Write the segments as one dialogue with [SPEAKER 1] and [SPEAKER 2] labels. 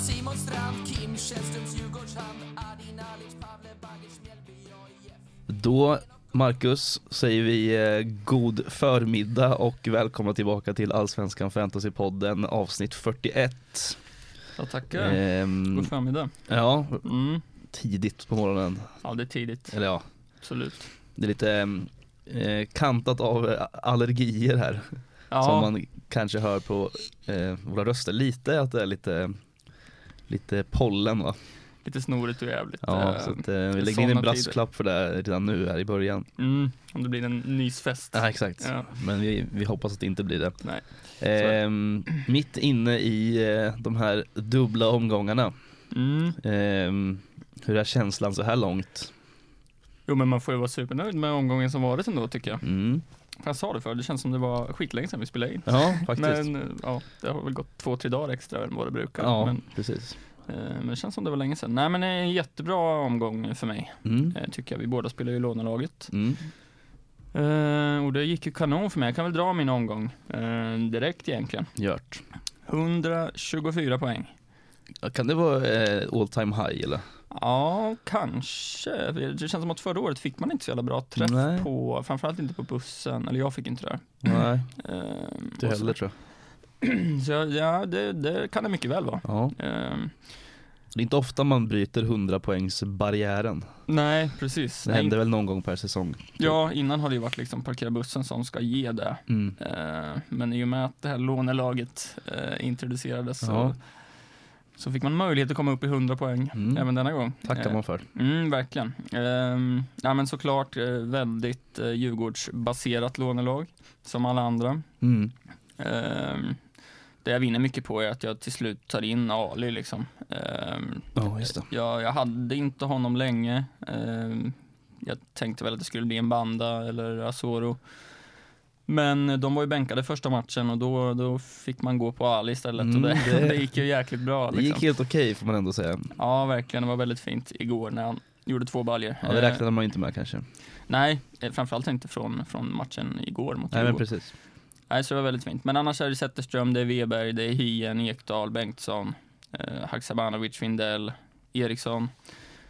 [SPEAKER 1] Simon Strand, Kim Källströms Djurgårdshamn, Adin Alic, Pavle Bagic, Mjällby, AIF.
[SPEAKER 2] Då, Marcus, säger vi eh, god förmiddag och välkomna tillbaka till Allsvenskan Fantasypodden avsnitt 41.
[SPEAKER 3] Ja, tackar.
[SPEAKER 2] Ehm,
[SPEAKER 3] God förmiddag.
[SPEAKER 2] ja,
[SPEAKER 3] Mm.
[SPEAKER 2] tidigt på morgonen.
[SPEAKER 3] Ja, det är tidigt.
[SPEAKER 2] Eller ja,
[SPEAKER 3] Absolut.
[SPEAKER 2] det är lite ehm, eh, kantat av eh, allergier här. Som
[SPEAKER 3] Ja,
[SPEAKER 2] man kanske hör på eh, våra röster lite, att det är lite Lite pollen va?
[SPEAKER 3] lite snorigt och jävligt.
[SPEAKER 2] Ja,
[SPEAKER 3] eh,
[SPEAKER 2] så att, eh, vi lägger in
[SPEAKER 3] såna
[SPEAKER 2] en brasklapp för det här redan nu här i början.
[SPEAKER 3] mm, om det blir en nysfest.
[SPEAKER 2] Ja, exakt.
[SPEAKER 3] Ja.
[SPEAKER 2] Men vi, vi hoppas att det inte blir det.
[SPEAKER 3] Nej.
[SPEAKER 2] Ehm, mitt inne i eh, de här dubbla omgångarna.
[SPEAKER 3] Mm.
[SPEAKER 2] Ehm, hur är känslan så här långt?
[SPEAKER 3] Jo, men man får ju vara supernöjd med omgången som varit ändå tycker jag.
[SPEAKER 2] Mm.
[SPEAKER 3] För jag sa det förr, det känns som det var skitlänge sedan vi spelade in.
[SPEAKER 2] Ja, faktiskt.
[SPEAKER 3] Men eh, ja, det har väl gått två, tre dagar extra än vad det brukar.
[SPEAKER 2] ja,
[SPEAKER 3] Men,
[SPEAKER 2] precis.
[SPEAKER 3] eh, men det känns som det var länge sedan. Nej, men det är en jättebra omgång för mig,
[SPEAKER 2] Mm.
[SPEAKER 3] eh, tycker jag. Vi båda spelar ju i lånelaget.
[SPEAKER 2] Mm.
[SPEAKER 3] Eh, och det gick ju kanon för mig. Jag kan väl dra min omgång eh, direkt egentligen.
[SPEAKER 2] Gjort.
[SPEAKER 3] 124 poäng.
[SPEAKER 2] Kan det vara eh, all time high eller?
[SPEAKER 3] Ja, kanske. Det känns som att förra året fick man inte så jävla bra träff
[SPEAKER 2] Nej.
[SPEAKER 3] på, framförallt inte på bussen, eller jag fick inte det.
[SPEAKER 2] Nej,
[SPEAKER 3] Ehm,
[SPEAKER 2] inte
[SPEAKER 3] och så-
[SPEAKER 2] heller tror
[SPEAKER 3] Så jag- ja, det, det kan det mycket väl vara.
[SPEAKER 2] jag. Ja.
[SPEAKER 3] Ehm,
[SPEAKER 2] Det är inte ofta man bryter 100 poängs barriären.
[SPEAKER 3] nej, precis.
[SPEAKER 2] Det
[SPEAKER 3] Nej,
[SPEAKER 2] händer väl någon gång per säsong.
[SPEAKER 3] ja, innan har det ju varit liksom parkera bussen som ska ge det.
[SPEAKER 2] Mm.
[SPEAKER 3] Ehm, men i och med att det här lånelaget eh, introducerades
[SPEAKER 2] Ja.
[SPEAKER 3] så, så fick man möjlighet att komma upp i 100 poäng
[SPEAKER 2] Mm.
[SPEAKER 3] även denna gång.
[SPEAKER 2] Tackar
[SPEAKER 3] Ehm,
[SPEAKER 2] man för.
[SPEAKER 3] Mm, verkligen. Ehm, ja, men såklart eh, väldigt eh, Djurgårdsbaserat lånelag, som alla andra.
[SPEAKER 2] Mm.
[SPEAKER 3] Ehm, det jag vinner mycket på är att jag till slut tar in Ali. Liksom. Ehm,
[SPEAKER 2] Ja, just det.
[SPEAKER 3] jag, jag hade inte honom länge. Ehm, jag tänkte väl att det skulle bli en Banda eller Asoro. Men de var ju bänkade första matchen och då, då fick man gå på Ali istället.
[SPEAKER 2] Mm,
[SPEAKER 3] och det,
[SPEAKER 2] det-
[SPEAKER 3] det gick ju jäkligt bra.
[SPEAKER 2] Det
[SPEAKER 3] Liksom.
[SPEAKER 2] gick helt okej får man ändå säga.
[SPEAKER 3] Ja, verkligen. Det var väldigt fint igår när han gjorde två baljor.
[SPEAKER 2] Ja, det
[SPEAKER 3] Ehm,
[SPEAKER 2] räknade man ju inte med kanske.
[SPEAKER 3] Nej, eh, framförallt inte från, från matchen igår mot
[SPEAKER 2] Nej men
[SPEAKER 3] Djurgården. Nej,
[SPEAKER 2] precis.
[SPEAKER 3] så det var väldigt fint. Men annars är det Zetterström, det är Weberg, det är Hien, Ekdal, Bengtsson, eh, Haksabanovic, Findell, Eriksson.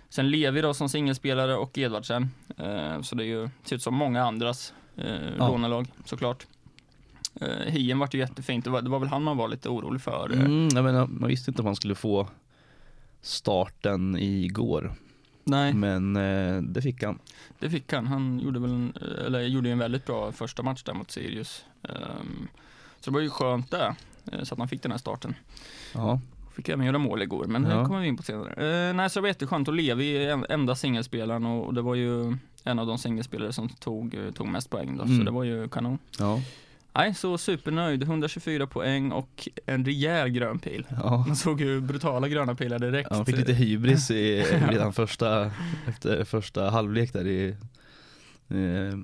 [SPEAKER 3] Sen Levi då som singelspelare och Edvardsen. Eh, så det är ju, ser ut som många andras eh,
[SPEAKER 2] Ja.
[SPEAKER 3] lånelag såklart. Eh, Hien vart ju jättefint, det var, det var väl han man var lite orolig för. eh.
[SPEAKER 2] Mm, jag menar, man visste inte om man skulle få starten igår.
[SPEAKER 3] Nej,
[SPEAKER 2] Men eh, det fick han.
[SPEAKER 3] det fick han. Han gjorde, väl en, eller, gjorde ju en väldigt bra första match där mot Sirius. Ehm, så det var ju skönt det, eh, så att man fick den här starten.
[SPEAKER 2] Ja,
[SPEAKER 3] Fick även göra mål igår, men det
[SPEAKER 2] Ja.
[SPEAKER 3] kommer vi in på senare. Eh, nej, så det var jätteskönt och Levi är en- enda singelspelaren och, och det var ju en av de singelspelare som tog, eh, tog mest poäng då,
[SPEAKER 2] Mm.
[SPEAKER 3] så det var ju kanon.
[SPEAKER 2] ja,
[SPEAKER 3] Nej, så supernöjd. 124 poäng och en rejäl grön pil.
[SPEAKER 2] ja.
[SPEAKER 3] Man såg ju brutala gröna pilar direkt.
[SPEAKER 2] Han fick lite hybris i, redan första, efter första halvlek där i, eh,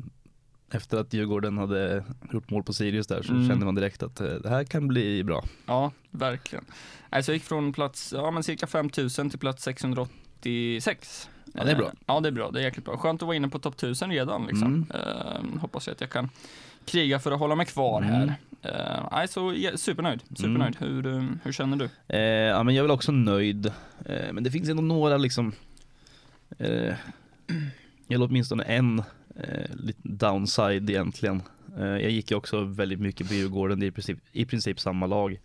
[SPEAKER 2] efter att Djurgården hade gjort mål på Sirius där så
[SPEAKER 3] Mm.
[SPEAKER 2] kände man direkt att eh, det här kan bli bra.
[SPEAKER 3] Ja, verkligen. Nej, så jag gick från plats, ja men cirka 5000 till plats 686.
[SPEAKER 2] Ja, det är bra.
[SPEAKER 3] Ja, det är bra. Det är jäkligt bra. Skönt att vara inne på topp 1000 redan. Liksom.
[SPEAKER 2] Mm.
[SPEAKER 3] Ehm, hoppas jag att jag kan kriga för att hålla mig kvar
[SPEAKER 2] Mm.
[SPEAKER 3] här. Ehm, nej, så ja, supernöjd. supernöjd. Hur, eh, hur känner du?
[SPEAKER 2] Eh, ja, men jag är väl också nöjd. Eh, men det finns ändå några liksom, eh, eller åtminstone en eh, liten downside egentligen. Eh, jag gick ju också väldigt mycket på Djurgården, det är i princip, i princip samma lag.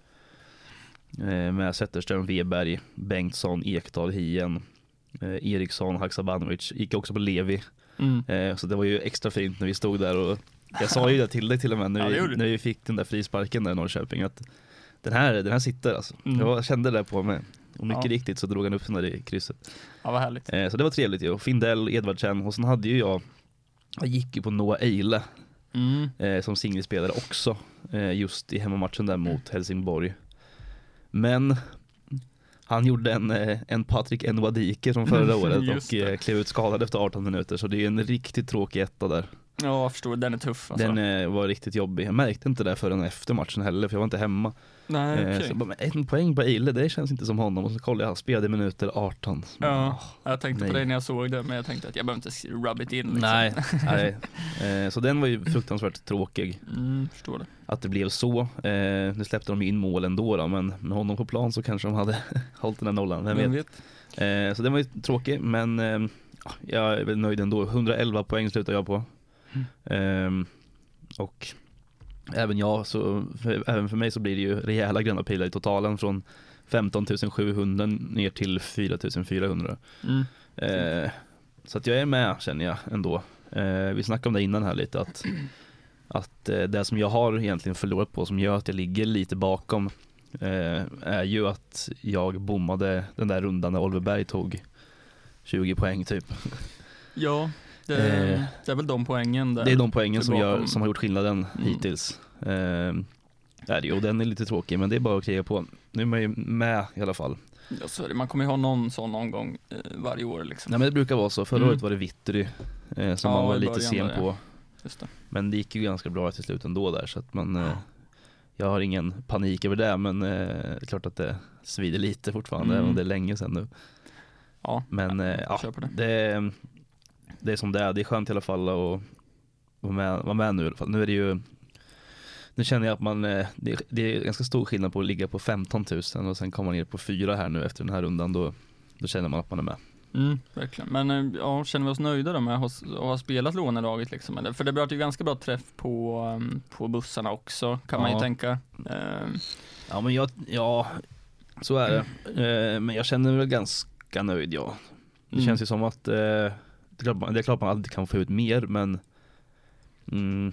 [SPEAKER 2] Eh, med Zetterström, Weberg, Bengtsson, Ekdal, Hien, eh, Eriksson, Haksabanovic. Gick också på Levi.
[SPEAKER 3] Mm.
[SPEAKER 2] Eh, så det var ju extra fint när vi stod där och jag sa ju det till dig till och med
[SPEAKER 3] Ja,
[SPEAKER 2] när,
[SPEAKER 3] det gjorde
[SPEAKER 2] vi,
[SPEAKER 3] du.
[SPEAKER 2] när vi fick den där frisparken där i Norrköping att den här, den här sitter alltså.
[SPEAKER 3] Mm.
[SPEAKER 2] Jag kände det där på mig. Och mycket
[SPEAKER 3] Ja.
[SPEAKER 2] riktigt så drog han upp den där i krysset.
[SPEAKER 3] Ja, vad härligt.
[SPEAKER 2] Eh, så det var trevligt ju. Och Findell, Edvardsen och sen hade ju jag, jag gick ju på Noah Eile
[SPEAKER 3] Mm.
[SPEAKER 2] eh, som singelspelare också. Eh, just i hemmamatchen där mot Helsingborg. Men han gjorde en, eh, en Patrik Enwadike från förra året
[SPEAKER 3] Just
[SPEAKER 2] och eh, klev ut skadad efter 18 minuter så det är ju en riktigt tråkig etta där.
[SPEAKER 3] Ja, jag förstår, den är tuff alltså.
[SPEAKER 2] Den eh, var riktigt jobbig. Jag märkte inte det förrän efter matchen heller för jag var inte hemma.
[SPEAKER 3] Nej,
[SPEAKER 2] Eh,
[SPEAKER 3] okej.
[SPEAKER 2] Så jag bara, men en poäng på Eile, det känns inte som honom. Och så kollade jag, han spelade i minuter 18. Så bara,
[SPEAKER 3] Ja,
[SPEAKER 2] åh,
[SPEAKER 3] jag tänkte
[SPEAKER 2] nej.
[SPEAKER 3] på det när jag såg det, men jag tänkte att jag behöver inte rub it in liksom.
[SPEAKER 2] Mm. Nej, nej. Eh, Så den var ju fruktansvärt tråkig
[SPEAKER 3] Mm, förstår det.
[SPEAKER 2] att det blev så. Eh, Nu släppte de ju in mål ändå då, men med honom på plan så kanske de hade hållit den här nollan, vem vet. Eh, Så den var ju tråkig men eh, ja, jag är väl nöjd ändå. 111 poäng slutar jag på. Eh, Och även jag, så, för, även för mig så blir det ju rejäla gröna pilar i totalen från 15 700 ner till 4 400.
[SPEAKER 3] Mm.
[SPEAKER 2] Eh, Så att jag är med känner jag ändå. Eh, Vi snackade om det innan här lite att, att eh, det som jag har egentligen förlorat på som gör att jag ligger lite bakom eh, är ju att jag bommade den där rundan när Oliver Berg tog 20 poäng typ.
[SPEAKER 3] Ja, det,
[SPEAKER 2] Eh.
[SPEAKER 3] det är väl de poängen där.
[SPEAKER 2] Det är de poängen som, gör,
[SPEAKER 3] Bakom.
[SPEAKER 2] som har gjort skillnaden
[SPEAKER 3] Mm.
[SPEAKER 2] hittills. Eh, är det, ju. och den är lite tråkig men det är bara att kriga på. Nu är man ju med i alla fall.
[SPEAKER 3] Ja, så är det. Man kommer ju ha någon sån omgång eh, varje år liksom.
[SPEAKER 2] Nej men det brukar vara så. Förra
[SPEAKER 3] Mm.
[SPEAKER 2] året var det Vittry eh, som
[SPEAKER 3] Ja,
[SPEAKER 2] man var
[SPEAKER 3] i
[SPEAKER 2] lite
[SPEAKER 3] början
[SPEAKER 2] sen
[SPEAKER 3] var det.
[SPEAKER 2] på.
[SPEAKER 3] Just det.
[SPEAKER 2] Men det gick ju ganska bra till slut ändå där så att man eh, Jag har ingen panik över det men eh, det är klart att det svider lite fortfarande
[SPEAKER 3] Mm.
[SPEAKER 2] även om det är länge sedan nu
[SPEAKER 3] Ja,
[SPEAKER 2] Men eh, ja,
[SPEAKER 3] kör på det.
[SPEAKER 2] det, det är som det är, det är skönt i alla fall att vara med, vara med nu i alla fall Nu är det ju Nu känner jag att man eh, det, är- det är ganska stor skillnad på att ligga på 15 000 och sen komma ner på 4 här nu efter den här rundan då då känner man att man är med.
[SPEAKER 3] Mm, verkligen. Men eh, ja, känner vi oss nöjda då med att ha- att ha spelat lånelaget liksom? Eller? För det blev ju ganska bra träff på, ehm, på bussarna också, kan man ju
[SPEAKER 2] Ja.
[SPEAKER 3] tänka. Ehm,
[SPEAKER 2] Ja men jag, ja så är det. Eh, Men jag känner mig väl ganska nöjd ja. Det
[SPEAKER 3] Mm.
[SPEAKER 2] känns ju som att eh, det, är klart man, det är klart man alltid kan få ut mer men mm,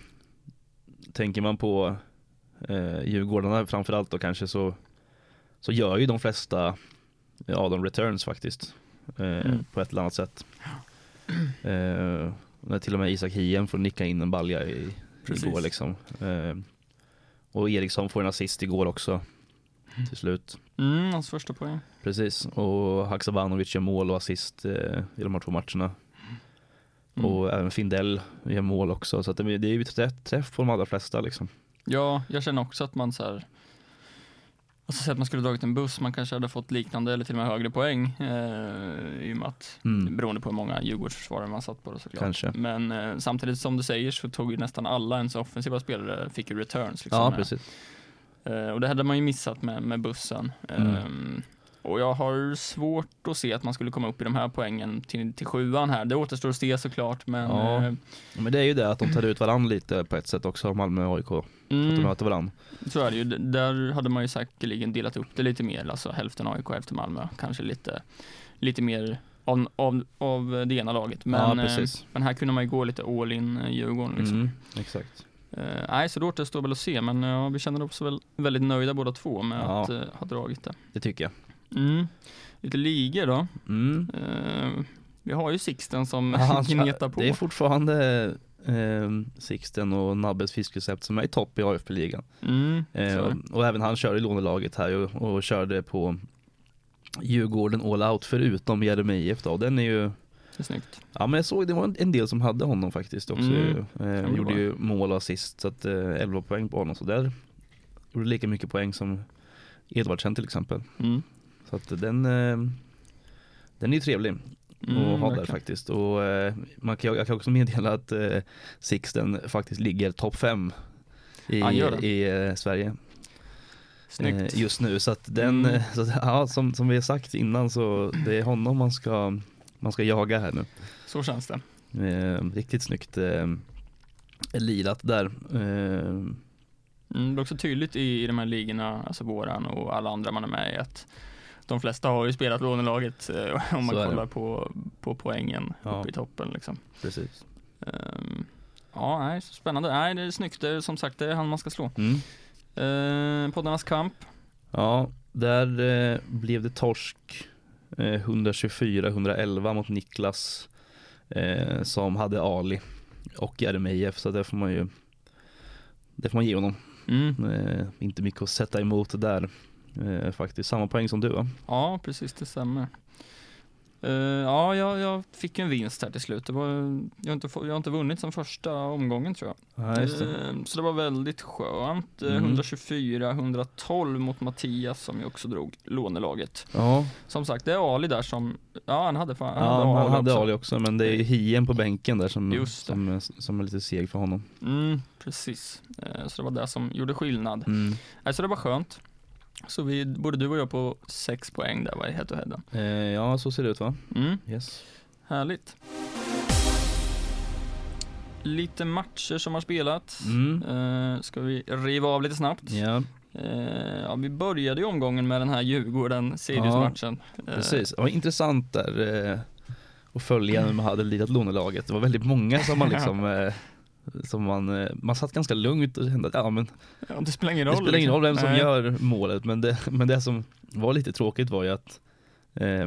[SPEAKER 2] Tänker man på eh, Djurgårdarna framförallt då kanske så Så gör ju de flesta av dem returns faktiskt eh,
[SPEAKER 3] Mm.
[SPEAKER 2] På ett eller annat sätt eh, När till och med Isak Hien får nicka in en balja i,
[SPEAKER 3] Precis.
[SPEAKER 2] igår liksom eh, Och Eriksson får en assist igår också Till slut
[SPEAKER 3] Mm, hans första poäng.
[SPEAKER 2] Precis, och Haksabanovic gör mål och assist eh, i de här två matcherna.
[SPEAKER 3] Mm.
[SPEAKER 2] Och även Findell gör mål också, så att det det är ju träff, träff på de allra flesta liksom.
[SPEAKER 3] Ja, jag känner också att man så här Alltså säg att man skulle ha dragit en buss, man kanske hade fått liknande eller till och med högre poäng eh, i och med att,
[SPEAKER 2] Mm.
[SPEAKER 3] beroende på hur många Djurgårdsförsvarare man satt på då såklart.
[SPEAKER 2] Kanske.
[SPEAKER 3] Men eh, samtidigt som du säger så tog ju nästan alla ens offensiva spelare fick ju returns. Liksom,
[SPEAKER 2] Ja,
[SPEAKER 3] med.
[SPEAKER 2] precis.
[SPEAKER 3] Eh, och det hade man ju missat med, med bussen.
[SPEAKER 2] Mm.
[SPEAKER 3] Ehm, och jag har svårt att se att man skulle komma upp i de här poängen till, till sjuan här. Det återstår att se såklart, men
[SPEAKER 2] Ja.
[SPEAKER 3] eh,
[SPEAKER 2] Men det är ju det att de tar ut varandra lite på ett sätt också, Malmö och AIK. Att de
[SPEAKER 3] mm,
[SPEAKER 2] möter varandra.
[SPEAKER 3] så är det ju. D- Där hade man ju säkerligen delat upp det lite mer, alltså hälften AIK, hälften Malmö. Kanske lite, lite mer av, av, av det ena laget. Men,
[SPEAKER 2] ja,
[SPEAKER 3] eh,
[SPEAKER 2] precis.
[SPEAKER 3] men här kunde man ju gå lite all in eh, Djurgården liksom.
[SPEAKER 2] Mm, exakt.
[SPEAKER 3] Eh, nej, så det återstår väl att se, men ja, vi känner oss väl väldigt nöjda båda två med
[SPEAKER 2] Ja.
[SPEAKER 3] att eh, ha dragit det.
[SPEAKER 2] Det tycker jag.
[SPEAKER 3] Mm. Lite ligor då.
[SPEAKER 2] Mm.
[SPEAKER 3] Eh, vi har ju Sixten som
[SPEAKER 2] Han-
[SPEAKER 3] gnetar på.
[SPEAKER 2] Det är fortfarande eh, Sixten och Nabbes fiskrecept som är i topp i AFP-ligan.
[SPEAKER 3] Mm, så är
[SPEAKER 2] Eh,
[SPEAKER 3] det.
[SPEAKER 2] och även han kör i lånelaget här och, och körde på Djurgården all out förutom Jeremejeff då. Den är ju,
[SPEAKER 3] det är snyggt.
[SPEAKER 2] ja men jag såg det var en- en del som hade honom faktiskt också.
[SPEAKER 3] Mm.
[SPEAKER 2] ju. Eh,
[SPEAKER 3] det
[SPEAKER 2] gjorde
[SPEAKER 3] var.
[SPEAKER 2] ju mål och assist så att eh, 11 poäng på honom så där gjorde lika mycket poäng som Edvardsen till exempel.
[SPEAKER 3] Mm.
[SPEAKER 2] Så att den eh, den är ju trevlig att
[SPEAKER 3] Mm,
[SPEAKER 2] ha där
[SPEAKER 3] verkligen.
[SPEAKER 2] faktiskt och eh, man kan, jag kan också meddela att eh, Sixten faktiskt ligger topp 5 i,
[SPEAKER 3] Han gör det.
[SPEAKER 2] i eh, Sverige
[SPEAKER 3] Snyggt.
[SPEAKER 2] eh, just nu. Så att den,
[SPEAKER 3] Mm.
[SPEAKER 2] eh, så att, ja, som, som vi har sagt innan så det är honom man ska, man ska jaga här nu.
[SPEAKER 3] Så känns det.
[SPEAKER 2] Eh, riktigt snyggt eh, lirat där. Eh,
[SPEAKER 3] Mm, det är också tydligt i, i de här ligorna, alltså våran och alla andra man är med i, att de flesta har ju spelat lånelaget eh, om man
[SPEAKER 2] Så är det.
[SPEAKER 3] kollar på, på poängen
[SPEAKER 2] Ja.
[SPEAKER 3] uppe i toppen. Liksom.
[SPEAKER 2] precis.
[SPEAKER 3] Ehm, ja, nej, så spännande. Nej, det är snyggt. Det är, som sagt, det är han man ska slå.
[SPEAKER 2] Mm.
[SPEAKER 3] Uh, poddarnas kamp.
[SPEAKER 2] Ja, där eh, blev det torsk eh, 124-111 mot Niklas eh, som hade Ali och Jeremejeff så det får man ju det får man ge honom.
[SPEAKER 3] Mm.
[SPEAKER 2] Eh, inte mycket att sätta emot där eh, faktiskt. Samma poäng som du va?
[SPEAKER 3] Ja, precis, det stämmer. Eh, ja, jag, jag fick ju en vinst här till slut. Det var, jag, har inte, få- jag har inte vunnit sen första omgången tror jag.
[SPEAKER 2] Ja, just det.
[SPEAKER 3] Eh, så det var väldigt skönt. Eh,
[SPEAKER 2] Mm.
[SPEAKER 3] 124-112 mot Mattias som ju också drog lånelaget.
[SPEAKER 2] Ja,
[SPEAKER 3] Som sagt, det är Ali där som, ja han hade fan, han hade
[SPEAKER 2] ja
[SPEAKER 3] Ali
[SPEAKER 2] han hade
[SPEAKER 3] också.
[SPEAKER 2] Ali också men det är ju Hien på bänken där som,
[SPEAKER 3] Just det.
[SPEAKER 2] som, är- som är lite seg för honom.
[SPEAKER 3] Mm, precis. Eh, så det var det som gjorde skillnad.
[SPEAKER 2] Mm.
[SPEAKER 3] Nej, så det var skönt. Så vi, både du och jag på sex poäng där, vad head to headen.
[SPEAKER 2] Eh, ja, så ser det ut va?
[SPEAKER 3] Mm,
[SPEAKER 2] Yes.
[SPEAKER 3] härligt. Lite matcher som har spelats.
[SPEAKER 2] Mm.
[SPEAKER 3] Eh, ska vi riva av lite snabbt?
[SPEAKER 2] Ja,
[SPEAKER 3] Eh, ja, vi började ju omgången med den här Djurgården-Sirius-matchen. Eh,
[SPEAKER 2] precis. Det var intressant där eh, att följa när man hade lidat lånelaget. Det var väldigt många som man liksom eh, Som man, eh, man satt ganska lugnt och kände att ja, men
[SPEAKER 3] ja, det spelar ingen roll.
[SPEAKER 2] det spelar ingen
[SPEAKER 3] liksom.
[SPEAKER 2] roll vem som
[SPEAKER 3] Nej.
[SPEAKER 2] gör målet men det, men det som var lite tråkigt var ju att eh,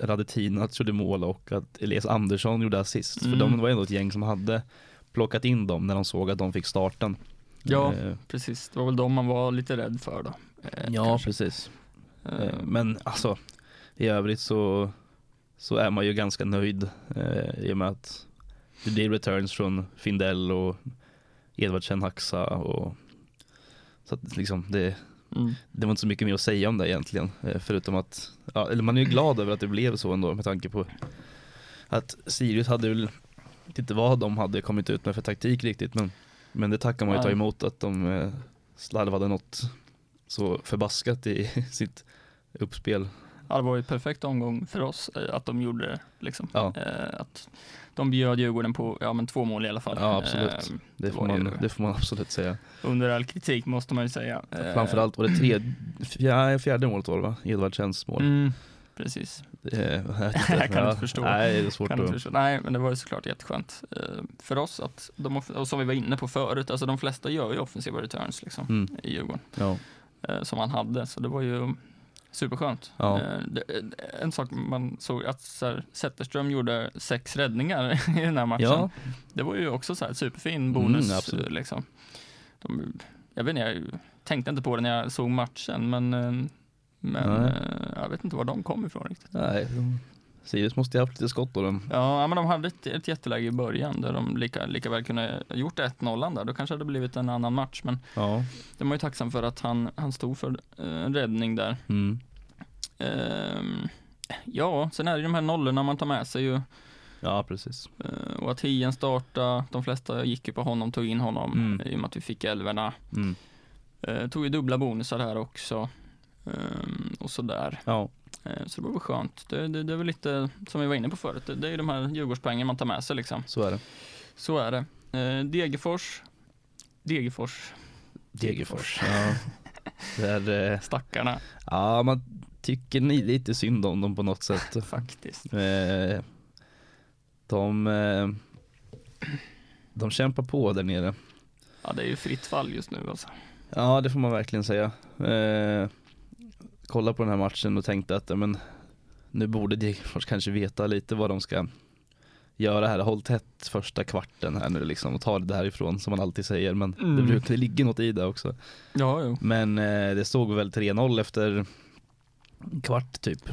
[SPEAKER 2] Radetinac gjorde mål och att Elias Andersson gjorde assist
[SPEAKER 3] Mm.
[SPEAKER 2] för de var ändå ett gäng som hade plockat in dem när de såg att de fick starten.
[SPEAKER 3] Ja,
[SPEAKER 2] Eh,
[SPEAKER 3] precis. Det var väl de man var lite rädd för då. Eh,
[SPEAKER 2] ja
[SPEAKER 3] kanske.
[SPEAKER 2] precis.
[SPEAKER 3] Eh,
[SPEAKER 2] Eh, Men alltså i övrigt så, så är man ju ganska nöjd eh, i och med att det blir returns från Findell och Edvardsen Haxa och så att liksom det,
[SPEAKER 3] mm.
[SPEAKER 2] det var inte så mycket mer att säga om det egentligen eh, förutom att ja, eller man är ju glad över att det blev så ändå med tanke på att Sirius hade väl jag vet inte vad de hade kommit ut med för taktik riktigt men, men det tackar man ju ta
[SPEAKER 3] Nej.
[SPEAKER 2] emot att de eh, slarvade något så förbaskat i sitt uppspel
[SPEAKER 3] Ja, det var ju ett perfekt omgång för oss eh, att de gjorde det. Liksom.
[SPEAKER 2] Ja.
[SPEAKER 3] Eh, att de bjöd Djurgården på ja, men två mål i alla fall.
[SPEAKER 2] Ja, absolut.
[SPEAKER 3] Eh,
[SPEAKER 2] Det får,
[SPEAKER 3] var ju
[SPEAKER 2] man,
[SPEAKER 3] det.
[SPEAKER 2] det får man absolut säga.
[SPEAKER 3] under all kritik måste man ju säga. Eh,
[SPEAKER 2] Framförallt var det tredje, fjärde, fjärde målet var det va? Edvardsens mål.
[SPEAKER 3] Mm, precis.
[SPEAKER 2] Eh, jag vet
[SPEAKER 3] Mm. Jag kan
[SPEAKER 2] Ja,
[SPEAKER 3] inte förstå.
[SPEAKER 2] Nej, det är svårt
[SPEAKER 3] Kan inte
[SPEAKER 2] att...
[SPEAKER 3] förstå. Nej, men det var ju såklart jätteskönt eh, för oss att de, off- och som vi var inne på förut, alltså de flesta gör ju offensiva returns liksom
[SPEAKER 2] Mm,
[SPEAKER 3] i Djurgården
[SPEAKER 2] ja.
[SPEAKER 3] eh, som han hade, så det var ju superskönt.
[SPEAKER 2] Ja.
[SPEAKER 3] Eh, det, en sak man såg att så här, Zetterström gjorde sex räddningar i den här matchen.
[SPEAKER 2] ja,
[SPEAKER 3] Det var ju också så här superfin bonus.
[SPEAKER 2] Mm, absolut.
[SPEAKER 3] eh, liksom. de, jag vet inte, jag tänkte inte på det när jag såg matchen, men, eh, men
[SPEAKER 2] Nej.
[SPEAKER 3] eh, jag vet inte var de kom ifrån riktigt.
[SPEAKER 2] nej. de- Sirius måste ju ha haft lite skott då. den.
[SPEAKER 3] Ja, ja, men de hade ett, ett jätteläge i början där de lika, lika väl kunde ha gjort 1-0 där. Då kanske det hade blivit en annan match, men
[SPEAKER 2] Ja.
[SPEAKER 3] det var ju tacksam för att han, han stod för eh, en räddning där.
[SPEAKER 2] Mm.
[SPEAKER 3] Ehm, ja, sen är det ju de här nollorna man tar med sig ju.
[SPEAKER 2] ja, precis.
[SPEAKER 3] Eh, och att Hien starta, de flesta gick ju på honom, tog in honom
[SPEAKER 2] Mm.
[SPEAKER 3] eh, i och med att vi fick elverna.
[SPEAKER 2] Mm.
[SPEAKER 3] Eh, tog ju dubbla bonusar här också. Ehm, och sådär.
[SPEAKER 2] Ja.
[SPEAKER 3] Eh, så det var väl skönt. Det, det, det är väl lite, som vi var inne på förut, det, det är ju de här Djurgårdspoängen man tar med sig liksom.
[SPEAKER 2] så är det.
[SPEAKER 3] Så är det. Eh, Degerfors. Degerfors.
[SPEAKER 2] Degerfors. Ja. Där, eh,
[SPEAKER 3] Stackarna
[SPEAKER 2] ja, man tycker ni lite synd om dem på något sätt.
[SPEAKER 3] faktiskt.
[SPEAKER 2] Eh, de, eh, de kämpar på där nere.
[SPEAKER 3] Ja, det är ju fritt fall just nu alltså.
[SPEAKER 2] Ja det får man verkligen säga. Eh, kolla på den här matchen och tänkte att ja, men, nu borde Degerfors kanske veta lite vad de ska göra här. Håll tätt första kvarten här nu liksom och ta det därifrån som man alltid säger men det,
[SPEAKER 3] Mm.
[SPEAKER 2] brukar, det ligger något i det också.
[SPEAKER 3] Ja, jo.
[SPEAKER 2] Men eh, det stod väl 3-0 efter en kvart typ.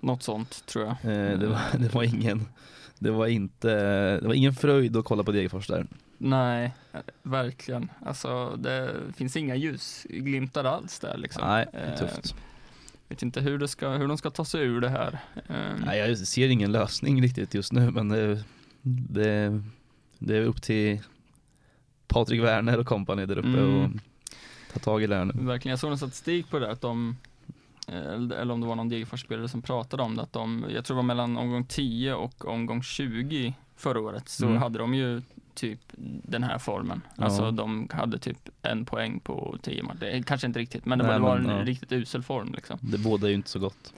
[SPEAKER 3] Något sånt tror jag.
[SPEAKER 2] Eh, det, var, det var ingen det var inte, det var ingen fröjd att kolla på Degerfors där.
[SPEAKER 3] Nej, eh, verkligen. Alltså, det finns inga ljusglimtar alls där liksom.
[SPEAKER 2] Nej, det är
[SPEAKER 3] Eh,
[SPEAKER 2] tufft.
[SPEAKER 3] Vet inte hur, det ska, hur de ska ta sig ur det här. Eh,
[SPEAKER 2] Nej, jag ser ingen lösning riktigt just nu men det, det, det är upp till Patrik Werner och kompani där uppe
[SPEAKER 3] Mm.
[SPEAKER 2] och ta tag i det här nu.
[SPEAKER 3] Verkligen, jag såg en statistik på det där att de eh, eller eller om det var någon Degerfors-spelare som pratade om det, att de, jag tror det var mellan omgång 10 och omgång 20 förra året, så
[SPEAKER 2] Mm.
[SPEAKER 3] hade de ju typ den här formen.
[SPEAKER 2] Ja.
[SPEAKER 3] Alltså de hade typ en poäng på 10 matcher. Det är Kanske inte riktigt, men det
[SPEAKER 2] Nej,
[SPEAKER 3] var, det
[SPEAKER 2] men,
[SPEAKER 3] var en
[SPEAKER 2] ja.
[SPEAKER 3] riktigt usel form liksom.
[SPEAKER 2] Det båda är ju inte så gott.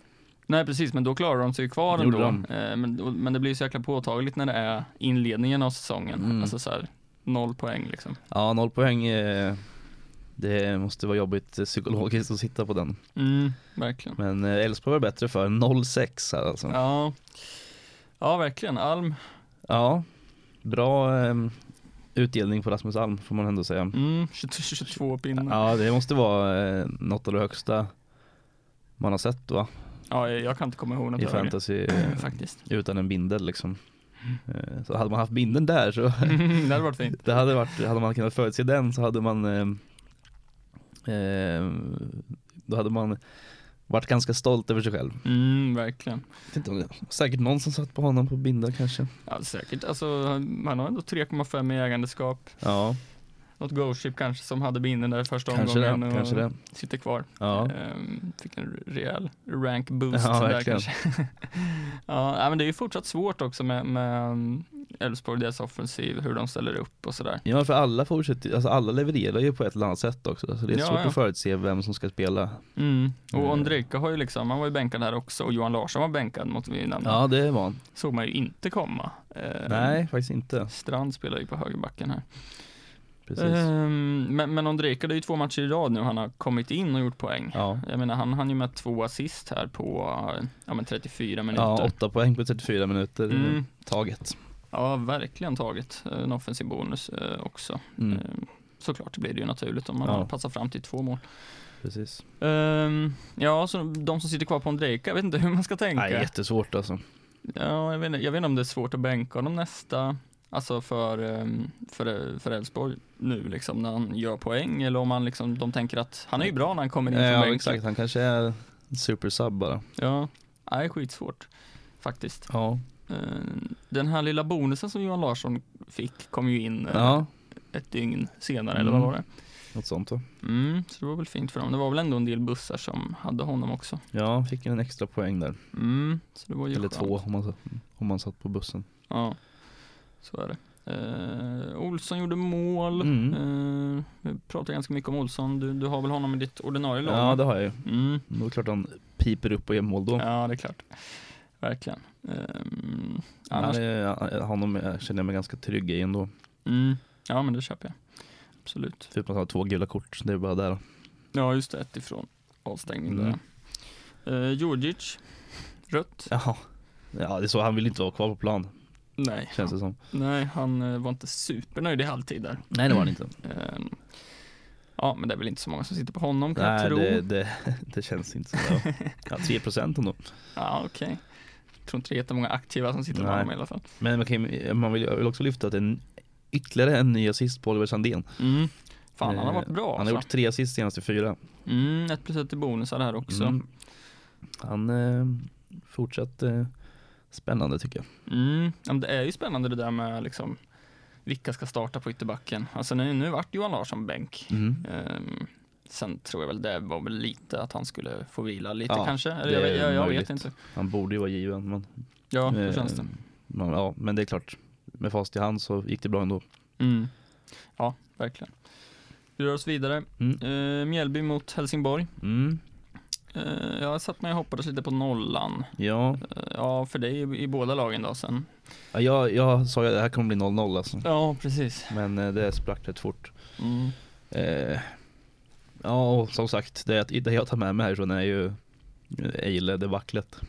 [SPEAKER 3] Nej precis, men då klarar de sig ju kvar
[SPEAKER 2] Det
[SPEAKER 3] ändå.
[SPEAKER 2] gjorde
[SPEAKER 3] Eh, Men, och- men det blir ju så jäkla påtagligt när det är inledningen av säsongen.
[SPEAKER 2] Mm.
[SPEAKER 3] Alltså så här, noll poäng liksom.
[SPEAKER 2] Ja, noll poäng. eh, Det måste vara jobbigt eh, psykologiskt att sitta på den.
[SPEAKER 3] Mm, verkligen.
[SPEAKER 2] Men eh, Elfsborg var bättre för 0-6 här alltså. Ja,
[SPEAKER 3] Ja. ja, verkligen. Alm
[SPEAKER 2] bra eh, utdelning på Rasmus Alm får man ändå säga.
[SPEAKER 3] Mm, 22, 22 pinnar.
[SPEAKER 2] Ja, det måste vara eh, något av det högsta man har sett va?
[SPEAKER 3] Ja, jag, jag kan inte komma ihåg något
[SPEAKER 2] i
[SPEAKER 3] högre, eh,
[SPEAKER 2] fantasy eh,
[SPEAKER 3] faktiskt.
[SPEAKER 2] utan en bindel liksom. Eh, Så hade man haft bindeln där så
[SPEAKER 3] det hade varit fint.
[SPEAKER 2] det hade, varit, hade man kunnat förutse den så hade man eh, eh, då hade man varit ganska stolt över sig själv.
[SPEAKER 3] Mm, verkligen.
[SPEAKER 2] Jag vet inte om det- Säkert någon som satt på honom på bindeln kanske.
[SPEAKER 3] Ja, säkert. Alltså, han har ändå 3,5 i ägandeskap.
[SPEAKER 2] Ja,
[SPEAKER 3] Något Ghost Ship kanske som hade binden där första
[SPEAKER 2] kanske
[SPEAKER 3] omgången
[SPEAKER 2] det.
[SPEAKER 3] och
[SPEAKER 2] Kanske det.
[SPEAKER 3] sitter kvar.
[SPEAKER 2] Ja.
[SPEAKER 3] Ehm, fick en rejäl rank boost
[SPEAKER 2] Ja,
[SPEAKER 3] där
[SPEAKER 2] verkligen.
[SPEAKER 3] kanske. ja, nej, men det är ju fortsatt svårt också med, med um, Elfsborg, deras offensiv, hur de ställer upp och sådär.
[SPEAKER 2] Ja för alla fortsätter, alltså alla levererar ju på ett eller annat sätt också. Så det är
[SPEAKER 3] Ja,
[SPEAKER 2] svårt
[SPEAKER 3] ja.
[SPEAKER 2] att förutse vem som ska spela.
[SPEAKER 3] Mm.
[SPEAKER 2] Mm.
[SPEAKER 3] Och Ondrejka har ju liksom, han var ju bänkad här också och Johan Larsson var bänkad mot Vinander.
[SPEAKER 2] Ja det var han.
[SPEAKER 3] Såg man ju inte komma. Ehm,
[SPEAKER 2] Nej faktiskt inte.
[SPEAKER 3] Strand spelar ju på högerbacken här.
[SPEAKER 2] Precis.
[SPEAKER 3] Ehm, men, men Ondrejka, det är ju två matcher i rad nu han har kommit in och gjort poäng.
[SPEAKER 2] Ja.
[SPEAKER 3] Jag menar han hann ju med två assist här på ja, men 34 minuter.
[SPEAKER 2] ja, åtta poäng på 34 minuter eh,
[SPEAKER 3] Mm.
[SPEAKER 2] taget.
[SPEAKER 3] Ja, verkligen tagit eh, en offensiv bonus eh, också.
[SPEAKER 2] Mm,
[SPEAKER 3] Eh, Såklart, det blir det ju naturligt om man
[SPEAKER 2] Ja.
[SPEAKER 3] har passat fram till två mål.
[SPEAKER 2] precis.
[SPEAKER 3] Ehm, ja, så de som sitter kvar på Ondrejka, jag vet inte hur man ska tänka.
[SPEAKER 2] Nej, jättesvårt alltså.
[SPEAKER 3] ja, jag, vet, inte- jag vet inte om det är svårt att bänka honom nästa, alltså för ehm, för för Elfsborg nu liksom när han gör poäng eller om man liksom, de tänker att han är ju bra när han kommer in från
[SPEAKER 2] Ja,
[SPEAKER 3] bänken.
[SPEAKER 2] exakt. Han kanske är en supersub bara.
[SPEAKER 3] Ja, nej skitsvårt faktiskt.
[SPEAKER 2] Ja.
[SPEAKER 3] Eh, Den här lilla bonusen som Johan Larsson fick kom ju in eh,
[SPEAKER 2] ja,
[SPEAKER 3] ett dygn senare, eller vad
[SPEAKER 2] Mm.
[SPEAKER 3] var det?
[SPEAKER 2] något sånt va?
[SPEAKER 3] Mm, så det var väl fint för dem. Det var väl ändå en del bussar som hade honom också.
[SPEAKER 2] Ja, han fick ju en extra poäng där.
[SPEAKER 3] Mm, så det var ju
[SPEAKER 2] Eller
[SPEAKER 3] skönt.
[SPEAKER 2] två om man, satt- om man satt på bussen.
[SPEAKER 3] Ja, så är det. Eh, Olsson gjorde mål.
[SPEAKER 2] Mm.
[SPEAKER 3] Eh, vi pratade ganska mycket om Olsson. Du, du har väl honom i ditt ordinarie lag?
[SPEAKER 2] Ja, det har jag ju.
[SPEAKER 3] Mm.
[SPEAKER 2] Då är det klart han piper upp och gör mål då.
[SPEAKER 3] ja, det är klart. Verkligen. Ehm,
[SPEAKER 2] Han
[SPEAKER 3] annars
[SPEAKER 2] är, honom är- känner jag mig ganska trygg i ändå.
[SPEAKER 3] Mm. Ja, men det köper jag. Absolut.
[SPEAKER 2] Förutom att han har två gula kort, det är bara där.
[SPEAKER 3] Ja, just det. Ett ifrån avstängning
[SPEAKER 2] Mm.
[SPEAKER 3] där. Eh, Djurdjic, rött.
[SPEAKER 2] Ja. ja, det är så. Han vill inte vara kvar på plan,
[SPEAKER 3] Nej,
[SPEAKER 2] känns det som.
[SPEAKER 3] nej, han eh, var inte supernöjd i halvtid där.
[SPEAKER 2] Nej, det var han inte.
[SPEAKER 3] Eh, ja, men det är väl inte så många som sitter på honom kan jag
[SPEAKER 2] Nej,
[SPEAKER 3] tro.
[SPEAKER 2] det, det, det känns inte sådär. Ja, 3% ändå.
[SPEAKER 3] Ja, okej. Jag tror inte det är jättemånga aktiva som sitter på
[SPEAKER 2] Nej.
[SPEAKER 3] honom i alla fall.
[SPEAKER 2] Men man, kan, ju- man vill, jag vill också lyfta att en, ytterligare en ny assist på Oliver Sandén.
[SPEAKER 3] Mm. Fan, han har
[SPEAKER 2] Eh,
[SPEAKER 3] varit bra
[SPEAKER 2] Han har
[SPEAKER 3] alltså.
[SPEAKER 2] gjort tre assist senaste fyra.
[SPEAKER 3] mm, Ett plus ett i bonusar här också. Mm.
[SPEAKER 2] Mm. Han eh, fortsatt eh, spännande tycker jag.
[SPEAKER 3] Mm. Ja, men det är ju spännande det där med liksom vilka ska starta på ytterbacken. Alltså nu, nu vart Johan Larsson bänk.
[SPEAKER 2] Mm.
[SPEAKER 3] Ehm, sen tror jag väl det var väl lite att han skulle få vila lite
[SPEAKER 2] Ja,
[SPEAKER 3] kanske. Eller
[SPEAKER 2] det
[SPEAKER 3] jag,
[SPEAKER 2] är
[SPEAKER 3] jag, jag
[SPEAKER 2] möjligt.
[SPEAKER 3] vet inte.
[SPEAKER 2] Han borde ju vara given. Men,
[SPEAKER 3] Ja, hur
[SPEAKER 2] eh,
[SPEAKER 3] känns det?
[SPEAKER 2] Man, ja, men det är klart. Med fast i hand så gick det bra ändå.
[SPEAKER 3] Mm. Ja, verkligen. Vi rör oss vidare.
[SPEAKER 2] Mm.
[SPEAKER 3] Ehm, Mjällby mot Helsingborg.
[SPEAKER 2] Mm.
[SPEAKER 3] Ehm, jag satt mig och hoppades lite på nollan.
[SPEAKER 2] Ja.
[SPEAKER 3] Ehm, ja, för dig i, i båda lagen då sen.
[SPEAKER 2] Ja, jag, jag sa ju att det här kommer bli 0-0 alltså.
[SPEAKER 3] Ja, precis.
[SPEAKER 2] Men eh, det sprack rätt fort.
[SPEAKER 3] Mm.
[SPEAKER 2] Eh, ja, och som sagt, det, det jag tar med mig härifrån är ju Eile-debaclet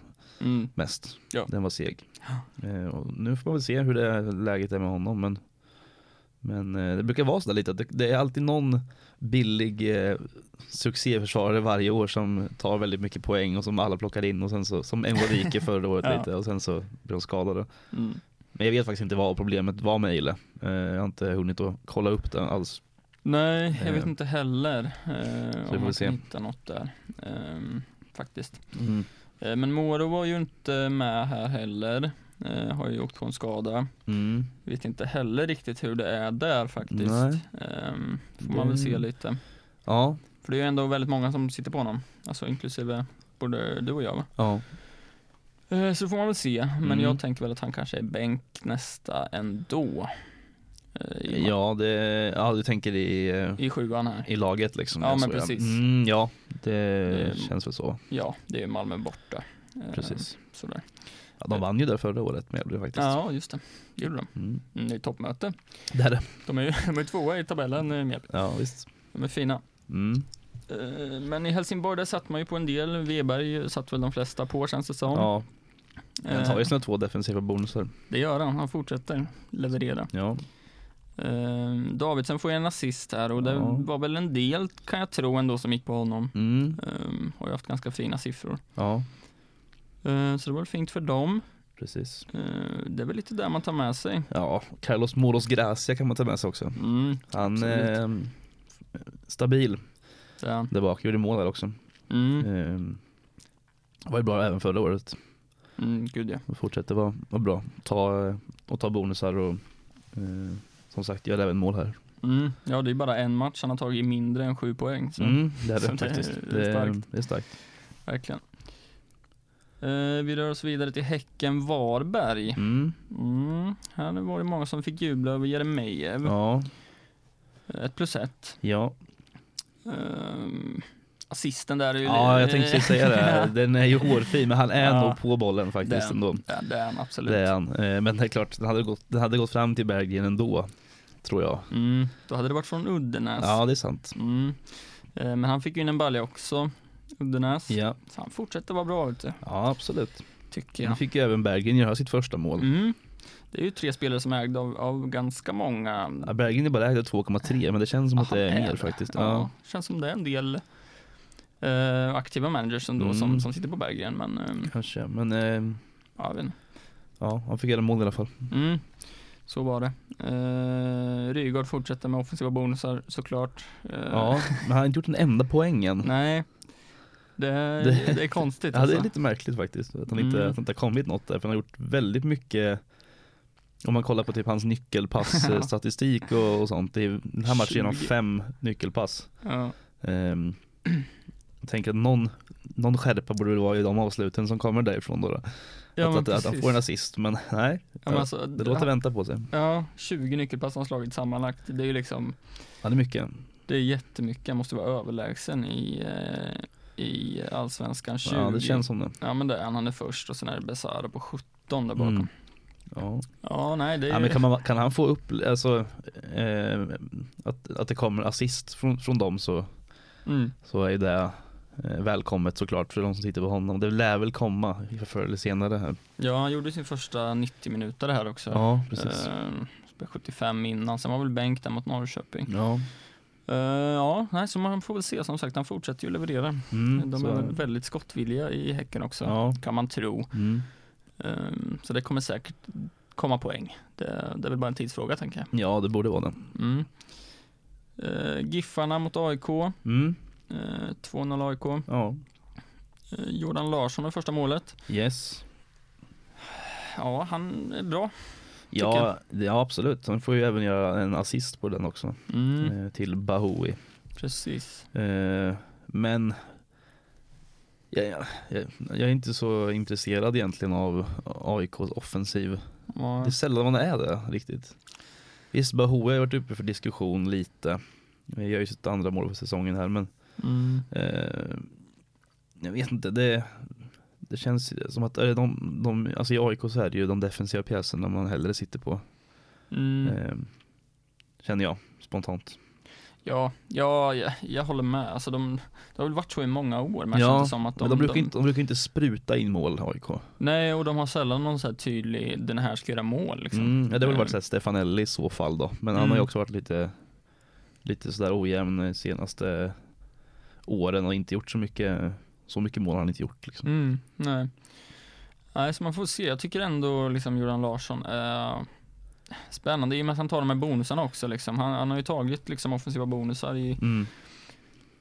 [SPEAKER 3] Mm.
[SPEAKER 2] mest.
[SPEAKER 3] Ja.
[SPEAKER 2] Den var seg. Eh, och nu får man väl se hur det är, läget är med honom. Men, men eh, det brukar vara sådär lite att det, det är alltid någon billig eh, succéförsvarare varje år som tar väldigt mycket poäng och som alla plockar in och sen så, som Enrique förra året
[SPEAKER 3] Ja.
[SPEAKER 2] lite och sen så blir de skadade.
[SPEAKER 3] Mm.
[SPEAKER 2] Men jag vet faktiskt inte vad problemet var med Eile. Eh, jag har inte hunnit att kolla upp det alls.
[SPEAKER 3] Nej, jag vet
[SPEAKER 2] Ehm.
[SPEAKER 3] inte heller ehm,
[SPEAKER 2] får
[SPEAKER 3] om
[SPEAKER 2] vi
[SPEAKER 3] man
[SPEAKER 2] se.
[SPEAKER 3] kan hitta något där. Ehm, faktiskt. Eh, Men Moro var ju inte med här heller. Eh, har ju åkt på en skada.
[SPEAKER 2] Mm.
[SPEAKER 3] Vet inte heller riktigt hur det är där faktiskt.
[SPEAKER 2] Nej.
[SPEAKER 3] Ehm, får man väl se
[SPEAKER 2] Det-
[SPEAKER 3] lite.
[SPEAKER 2] Ja,
[SPEAKER 3] För det är ju ändå väldigt många som sitter på honom. Alltså inklusive både du och jag va?
[SPEAKER 2] ja.
[SPEAKER 3] Eh, så får man väl se. Men
[SPEAKER 2] Mm.
[SPEAKER 3] jag tänker väl att han kanske är bänk nästa ändå. Eh, i,
[SPEAKER 2] Ja, det, ja, du tänker i, eh,
[SPEAKER 3] I sjuan här.
[SPEAKER 2] i laget liksom.
[SPEAKER 3] Ja,
[SPEAKER 2] Jag
[SPEAKER 3] men
[SPEAKER 2] såg,
[SPEAKER 3] precis.
[SPEAKER 2] Mm, ja, det
[SPEAKER 3] Ehm.
[SPEAKER 2] känns väl så.
[SPEAKER 3] Ja, det är ju Malmö borta. Eh,
[SPEAKER 2] Precis.
[SPEAKER 3] Sådär.
[SPEAKER 2] Ja, de vann ju där förra året med Mjällby faktiskt.
[SPEAKER 3] Ja, just det. Det gjorde de.
[SPEAKER 2] Mm.
[SPEAKER 3] Mm, det är toppmöte.
[SPEAKER 2] Det är det.
[SPEAKER 3] De är ju de är tvåa i tabellen, eh, Mjällby.
[SPEAKER 2] Ja, visst.
[SPEAKER 3] De är fina.
[SPEAKER 2] Mm.
[SPEAKER 3] Eh, Men i Helsingborg där satt man ju på en del, Weberg satt väl de flesta på känns det som.
[SPEAKER 2] Ja, han tar ju
[SPEAKER 3] Eh,
[SPEAKER 2] sina två defensiva bonusar.
[SPEAKER 3] Det gör han, han fortsätter leverera.
[SPEAKER 2] Ja,
[SPEAKER 3] Eh, Davidsen får ju en assist här och det
[SPEAKER 2] Ja.
[SPEAKER 3] var väl en del kan jag tro ändå som gick på honom.
[SPEAKER 2] mm.
[SPEAKER 3] Eh, Har ju haft ganska fina siffror.
[SPEAKER 2] ja.
[SPEAKER 3] Eh, Så det var väl fint för dem.
[SPEAKER 2] Precis.
[SPEAKER 3] Eh, Det är väl lite där man tar med sig.
[SPEAKER 2] Ja, Carlos Moros Gracia kan man ta med sig också.
[SPEAKER 3] Mm,
[SPEAKER 2] Han
[SPEAKER 3] Absolut.
[SPEAKER 2] eh, stabil
[SPEAKER 3] där.
[SPEAKER 2] där bak, gjorde mål där också.
[SPEAKER 3] Mm,
[SPEAKER 2] Ehm, var ju bra även förra året.
[SPEAKER 3] mm, gud ja.
[SPEAKER 2] Och Fortsätter vara vara bra. Ta, eh, och ta bonusar och eh, som sagt gör även mål här.
[SPEAKER 3] Mm, ja, det är bara en match han har tagit mindre än sju poäng. Så.
[SPEAKER 2] Mm, det hade
[SPEAKER 3] så
[SPEAKER 2] jag
[SPEAKER 3] det är
[SPEAKER 2] faktiskt. Det är,
[SPEAKER 3] starkt.
[SPEAKER 2] det är starkt.
[SPEAKER 3] Verkligen. Eh, vi rör oss vidare till Häcken-Varberg.
[SPEAKER 2] Mm,
[SPEAKER 3] Mm, här var det många som fick jubla över Jeremejeff.
[SPEAKER 2] ja,
[SPEAKER 3] Ett plus ett.
[SPEAKER 2] ja.
[SPEAKER 3] Ehm, assisten där är ju...
[SPEAKER 2] ja, jag tänkte precis säga det. Den är ju hårfin men han är
[SPEAKER 3] Ja.
[SPEAKER 2] nog på bollen faktiskt
[SPEAKER 3] Den.
[SPEAKER 2] ändå.
[SPEAKER 3] Ja, det är han absolut.
[SPEAKER 2] Det är han. Eh, Men det är klart, den hade gått, den hade gått fram till Berggren ändå. Tror jag.
[SPEAKER 3] Mm, då hade det varit från Uddenäs.
[SPEAKER 2] Ja, det är sant.
[SPEAKER 3] Mm. Eh, Men han fick ju in en balja också, Uddenäs.
[SPEAKER 2] Ja,
[SPEAKER 3] Så han fortsätter vara bra ute,
[SPEAKER 2] ja absolut.
[SPEAKER 3] tycker
[SPEAKER 2] Nu
[SPEAKER 3] jag.
[SPEAKER 2] fick ju även Berggren göra sitt första mål.
[SPEAKER 3] Mm. Det är ju tre spelare som är ägda av, av ganska många.
[SPEAKER 2] Ja, Berggren är bara ägd av 2,3 men det känns som att
[SPEAKER 3] Aha,
[SPEAKER 2] det är
[SPEAKER 3] är
[SPEAKER 2] mer
[SPEAKER 3] det?
[SPEAKER 2] faktiskt.
[SPEAKER 3] Ja,
[SPEAKER 2] Ja.
[SPEAKER 3] känns som det är en del eh, aktiva managers ändå
[SPEAKER 2] Mm.
[SPEAKER 3] som, som sitter på Berggren, men eh,
[SPEAKER 2] Kanske, men eh,
[SPEAKER 3] ja, jag vet inte.
[SPEAKER 2] ja, han fick göra mål i alla fall.
[SPEAKER 3] Mm, så var det. Eh, Rygaard fortsätter med offensiva bonusar såklart. Eh,
[SPEAKER 2] Ja, men han har inte gjort en enda poäng än.
[SPEAKER 3] Nej, det, det,
[SPEAKER 2] Det-
[SPEAKER 3] är konstigt
[SPEAKER 2] Ja,
[SPEAKER 3] alltså.
[SPEAKER 2] det är lite märkligt faktiskt att han inte,
[SPEAKER 3] Mm.
[SPEAKER 2] att det inte har kommit något där, för han har gjort väldigt mycket om man kollar på typ hans nyckelpassstatistik och, och sånt. Det är, den här matchen genom
[SPEAKER 3] 20.
[SPEAKER 2] fem nyckelpass.
[SPEAKER 3] ja.
[SPEAKER 2] Ehm, jag tänker att någon, någon skärpa borde det vara i de avsluten som kommer därifrån då. då.
[SPEAKER 3] Ja,
[SPEAKER 2] att,
[SPEAKER 3] men
[SPEAKER 2] att, att han
[SPEAKER 3] precis.
[SPEAKER 2] får en assist, men nej,
[SPEAKER 3] Ja, men alltså,
[SPEAKER 2] det låter vänta på sig.
[SPEAKER 3] Ja, 20 nyckelpass har han slagit sammanlagt. Det är ju liksom,
[SPEAKER 2] Han är mycket.
[SPEAKER 3] det är jättemycket. Han måste vara överlägsen i, eh, i allsvenskan 20.
[SPEAKER 2] Ja, det känns som det.
[SPEAKER 3] Ja, men det är han. Han är först och sen är det Besara på 17 där bakom.
[SPEAKER 2] Mm. Ja.
[SPEAKER 3] Ja, nej, det är
[SPEAKER 2] Ja,
[SPEAKER 3] ju...
[SPEAKER 2] men kan, man, kan han få upp, alltså, eh, att, att det kommer assist från, från dem så,
[SPEAKER 3] mm.
[SPEAKER 2] så är det eh, välkommet såklart för de som sitter på honom. Det lär väl komma förr eller senare här.
[SPEAKER 3] Ja, han gjorde sin första 90 minuter här också.
[SPEAKER 2] Ja,
[SPEAKER 3] Eh, spelade 75 innan, sen var väl bänk där mot Norrköping.
[SPEAKER 2] Ja,
[SPEAKER 3] Eh, ja, nej, så man får väl se som sagt, han fortsätter ju leverera.
[SPEAKER 2] mm,
[SPEAKER 3] De
[SPEAKER 2] så-
[SPEAKER 3] är väl väldigt skottvilliga i Häcken också,
[SPEAKER 2] Ja.
[SPEAKER 3] kan man tro.
[SPEAKER 2] Mm.
[SPEAKER 3] Ehm, Så det kommer säkert komma poäng. Det, det är väl bara en tidsfråga tänker jag.
[SPEAKER 2] ja, det borde vara det.
[SPEAKER 3] Mm. Eh, Giffarna mot AIK,
[SPEAKER 2] Mm.
[SPEAKER 3] eh, 2-0 AIK.
[SPEAKER 2] Ja,
[SPEAKER 3] Eh, Jordan Larsson har första målet.
[SPEAKER 2] yes.
[SPEAKER 3] Ja, han är bra.
[SPEAKER 2] Ja, det- ja, absolut. Han får ju även göra en assist på den också
[SPEAKER 3] Mm,
[SPEAKER 2] eh, till Bahoui.
[SPEAKER 3] Precis.
[SPEAKER 2] Eh, men jag, jag, jag- jag är inte så intresserad egentligen av AIKs offensiv.
[SPEAKER 3] Ja,
[SPEAKER 2] Det är sällan man är det riktigt. Visst, Bahoui har varit uppe för diskussion lite. Jag gör ju sitt andra mål för säsongen här men
[SPEAKER 3] mm,
[SPEAKER 2] eh, jag vet inte, det, det känns som att eh, de, de, alltså i AIK så är det ju de defensiva pjäserna man hellre sitter på.
[SPEAKER 3] mm.
[SPEAKER 2] Eh, känner jag spontant.
[SPEAKER 3] Ja, ja, jag, jag håller med. Alltså de, det har väl varit så i många år, men det
[SPEAKER 2] Ja,
[SPEAKER 3] känns som att de,
[SPEAKER 2] men de brukar, Inte, de brukar inte spruta in mål AIK.
[SPEAKER 3] Nej, och de har sällan någon så här tydlig, den här ska göra mål liksom.
[SPEAKER 2] Mm, ja, det har väl varit
[SPEAKER 3] Eh,
[SPEAKER 2] såhär Stefanelli i så fall då. Men han
[SPEAKER 3] Mm.
[SPEAKER 2] har ju också varit lite, lite sådär ojämn de senaste åren och inte gjort så mycket, så mycket mål har han inte gjort liksom.
[SPEAKER 3] Mm, nej. Nej, så man får se. Jag tycker ändå liksom Jordan Larsson är spännande i och med att han tar de här bonusarna också liksom. Han, han har ju tagit liksom offensiva bonusar i,
[SPEAKER 2] Mm.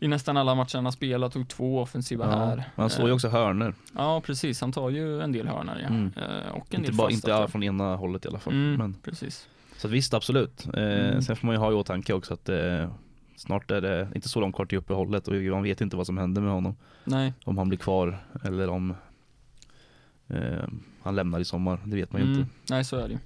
[SPEAKER 3] i nästan alla matcher han har spelat. Tog två offensiva
[SPEAKER 2] Ja,
[SPEAKER 3] här.
[SPEAKER 2] men han slår ju
[SPEAKER 3] Eh,
[SPEAKER 2] också hörnor
[SPEAKER 3] Ja, precis. Han tar ju en del hörnor ja.
[SPEAKER 2] Mm.
[SPEAKER 3] Eh, Och en
[SPEAKER 2] Inte,
[SPEAKER 3] del
[SPEAKER 2] bara,
[SPEAKER 3] fasta,
[SPEAKER 2] inte
[SPEAKER 3] tror jag.
[SPEAKER 2] alla från ena hållet i alla fall.
[SPEAKER 3] Mm,
[SPEAKER 2] Men,
[SPEAKER 3] Precis.
[SPEAKER 2] så att visst, absolut. Eh,
[SPEAKER 3] Mm.
[SPEAKER 2] Sen får man ju ha i åtanke också att eh, snart är det inte så långt kvar till uppehållet och man vet inte vad som händer med honom.
[SPEAKER 3] Nej.
[SPEAKER 2] Om han blir kvar eller om eh, han lämnar i sommar, det vet man ju
[SPEAKER 3] Mm.
[SPEAKER 2] inte.
[SPEAKER 3] Nej, så är det ju.